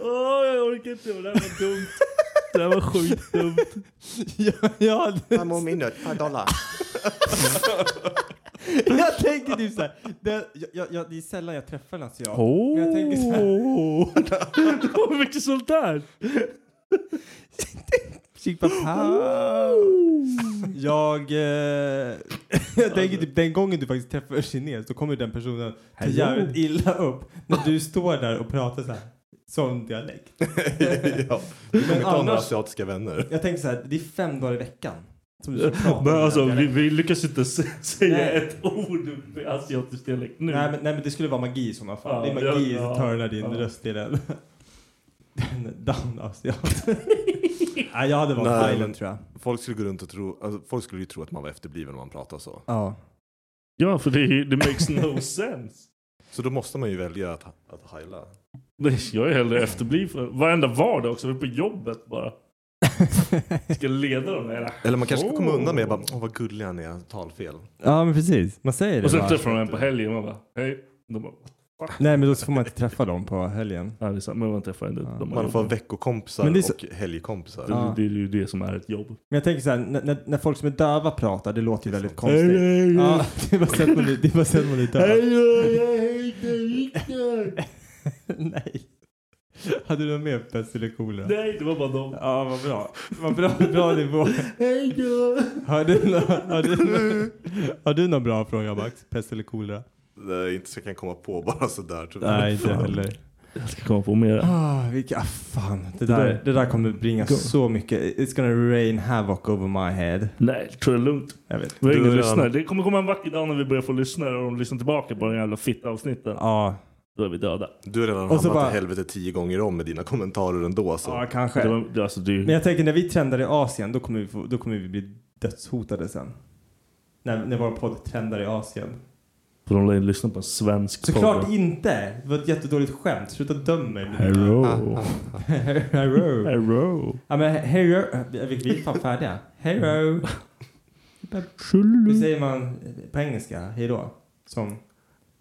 Åh, jag orkar inte. Det här var dumt. Det här var sjukt dumt. ja, ja, Fem om minut, per dollar. jag tänker typ såhär. Det, jag, jag, jag, det är sällan jag träffar en asiat. Oh. Men jag tänker så här. Åh, mycket sånt där. Chick på Jag, eh, jag tänker typ den gången du faktiskt träffar en kines då kommer den personen ta Hello. jävligt illa upp när du står där och pratar så här. Sån dialekt. ja. Du kommer Men ta några annars- asiatiska vänner. Jag tänker så här, det är fem dagar i veckan som du ska prata Men med alltså, den vi, dialekten. vi lyckas inte s- säga Nej. ett ord med asiatisk dialekt nu. Nej men, nej men det skulle vara magi i sådana fall. Ja, det är magi ja, som ja, turnar din ja. röst till en... en down-asiat. nej jag hade varit Nej, Thailand men- tror jag. Folk skulle gå runt och tro, alltså, folk skulle ju tro att man var efterbliven om man pratar så. Ja. Ja, för det, det makes no sense. Så då måste man ju välja att, att heila. Nej, Jag är hellre efterbliven. Varenda vardag också. Vi är på jobbet bara. Ska leda dem hela. Eller man kanske ska komma Oh. undan med bara, åh vad gullig han är, talfel. ja men precis. Man säger det Och sen bara. träffar de en på helgen och man bara hej. De bara, Nej men då får man inte träffa dem på helgen. nej det är sant. Men man träffar ändå. De har Man får jobb. ha veckokompisar Men det är så- och helgkompisar. Det, det, det är ju det som är ett jobb. Men jag tänker så här, när, när, när folk som är döva pratar, det låter ju väldigt konstigt. Hej, hej, hej. Ja, det är bara sen man blir, det är bara sen man blir döv. jag heter Viktor! Nej. Hade du något mer pest eller kolera? Nej, det var bara dem. Ja, vad bra. Vad bra, bra nivå. Hej då! Har du, nå- har, du, nå- har du någon bra fråga Max? Pest eller kolera? Nej, inte så jag kan komma på bara sådär. Tror jag. Nej, inte heller. Jag ska komma på mer. Ah, vilka, ah, fan. Det där, det där kommer bringa så mycket. It's gonna rain havoc over my head. Nej, tror jag är lugnt. Jag vet. Vi har Du ingen redan- lyssnare. Det kommer komma en vacker dag när vi börjar få lyssnare och de lyssnar tillbaka på den jävla fitta-avsnitten. Ja, Då är vi döda. Du har redan Och hamnat så bara- i helvete tio gånger om med dina kommentarer ändå. Så. ja Det kanske. var, det, alltså, det, är ju- Men jag tänker när vi trendar i Asien, då kommer vi, få, då kommer vi bli dödshotade sen. När, när vår podd trendar i Asien. för de lär ju lyssna på en svensk Såklart podd. inte! Det var ett jättedåligt skämt. Sluta döm mig. Hello. Hello. Hello. Ja men hello. Vi vi är fan färdiga. Hello. Hur säger man på engelska? Hejdå? Som...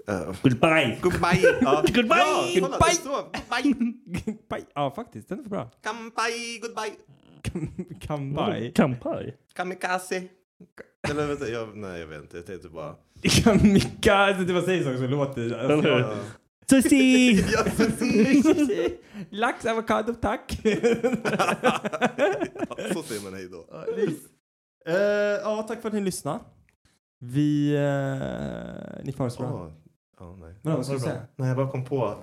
Eh, Goodbye! Goodbye! Ja. Goodbye! Ja, kolla, det är så. Bye! ja faktiskt, den är bra. Kampai! Goodbye! Kambai. Kampai. Kamikaze! Eller vänta, jag, nej jag vet inte. Jag tänkte bara... Kamikaze. alltså, Det var säger saker som låter... Alltså, Eller hur? Ja. Sushi! Ja, Lax, avokado, tack. så säger man hej då. Eh, Ja, tack för att ni lyssnade. Vi... eh, Ni får ha det så bra. Ja, Ah, ja, nej. Vadå, vad ska du Var det säga? bra? Nej, jag bara kom på.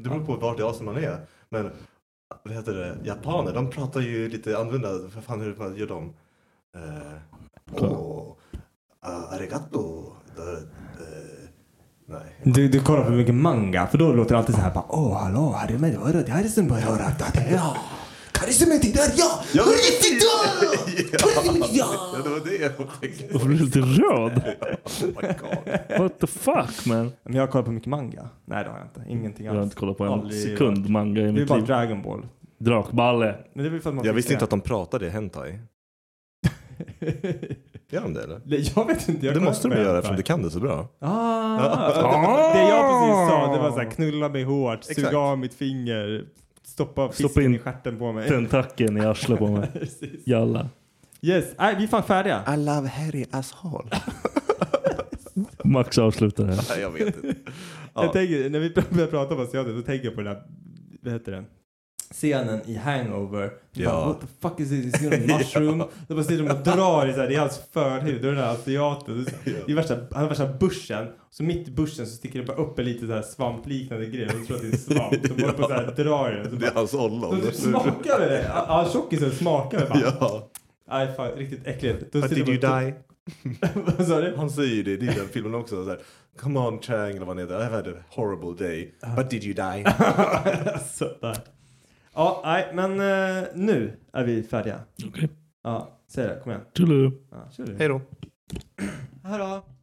Det beror på vart i Asien man är. Men vad heter det? Japaner, de pratar ju lite annorlunda. Vad fan hur man gör de? Eh, oh, ah, arigato. Da, eh, nej. Du, du kollar för mycket manga, för då låter det alltid så här bara Åh, hallå, här är med örat, här är som bara örat, det är jag. Ja! Ja, ja, det var det jag tänkte. Jag blir lite röd. Oh my god. What the fuck man? Men jag kollar på mycket manga. Nej, det har jag inte. Ingenting Jag har alls. inte kollat på en Aldrig- sekund manga i Det är mitt bara liv. Dragon Ball. Drakballe. Men det är väl för att man Jag fick visste det. inte att de pratade hentai. Gör de det eller? Nej, jag vet inte. Jag Det kollar måste på de göra hentai. eftersom du kan det så bra. Ah, det jag precis sa, det var så Ah. här knulla mig hårt, Exakt. suga av mitt finger, stoppa fisken Stoppa in i stjärten på mig. Tentakeln i arslet på mig. Precis. Jalla. Yes, nej, vi är fan färdiga. I love hairy asshole. Max avslutar här. Nej, jag vet inte. Jag tänker, när vi börjar prata om asiater så tänker jag på den här, vad heter den? Scenen i Hangover. Ja. Bara, What the fuck is this? Is it a mushroom? Då bara sitter de och drar i, så här, i hans förhud. Då är det den här asiaten. Det är värsta, han har värsta buschen. Så mitt i buschen så sticker det bara upp en liten så här svampliknande grej. De tror att det är svamp. Så bara på så här drar i den. Så Det är bara, hans de ollon. typ smakar med det. Ja, tjockisen smakar det bara. Ja. Nej, fan riktigt äckligt. Då But did sitter you de och- die? Vad sa du? Han säger ju det i den filmen också. Så här, Come on Chang eller vad han heter. I've had a horrible day. But did you die? alltså, där. Ja, nej, men eh, nu är vi färdiga. Okej. Ja, säg det. Kom igen. Tjolo. Ja, kör du. Hej då. Hej då.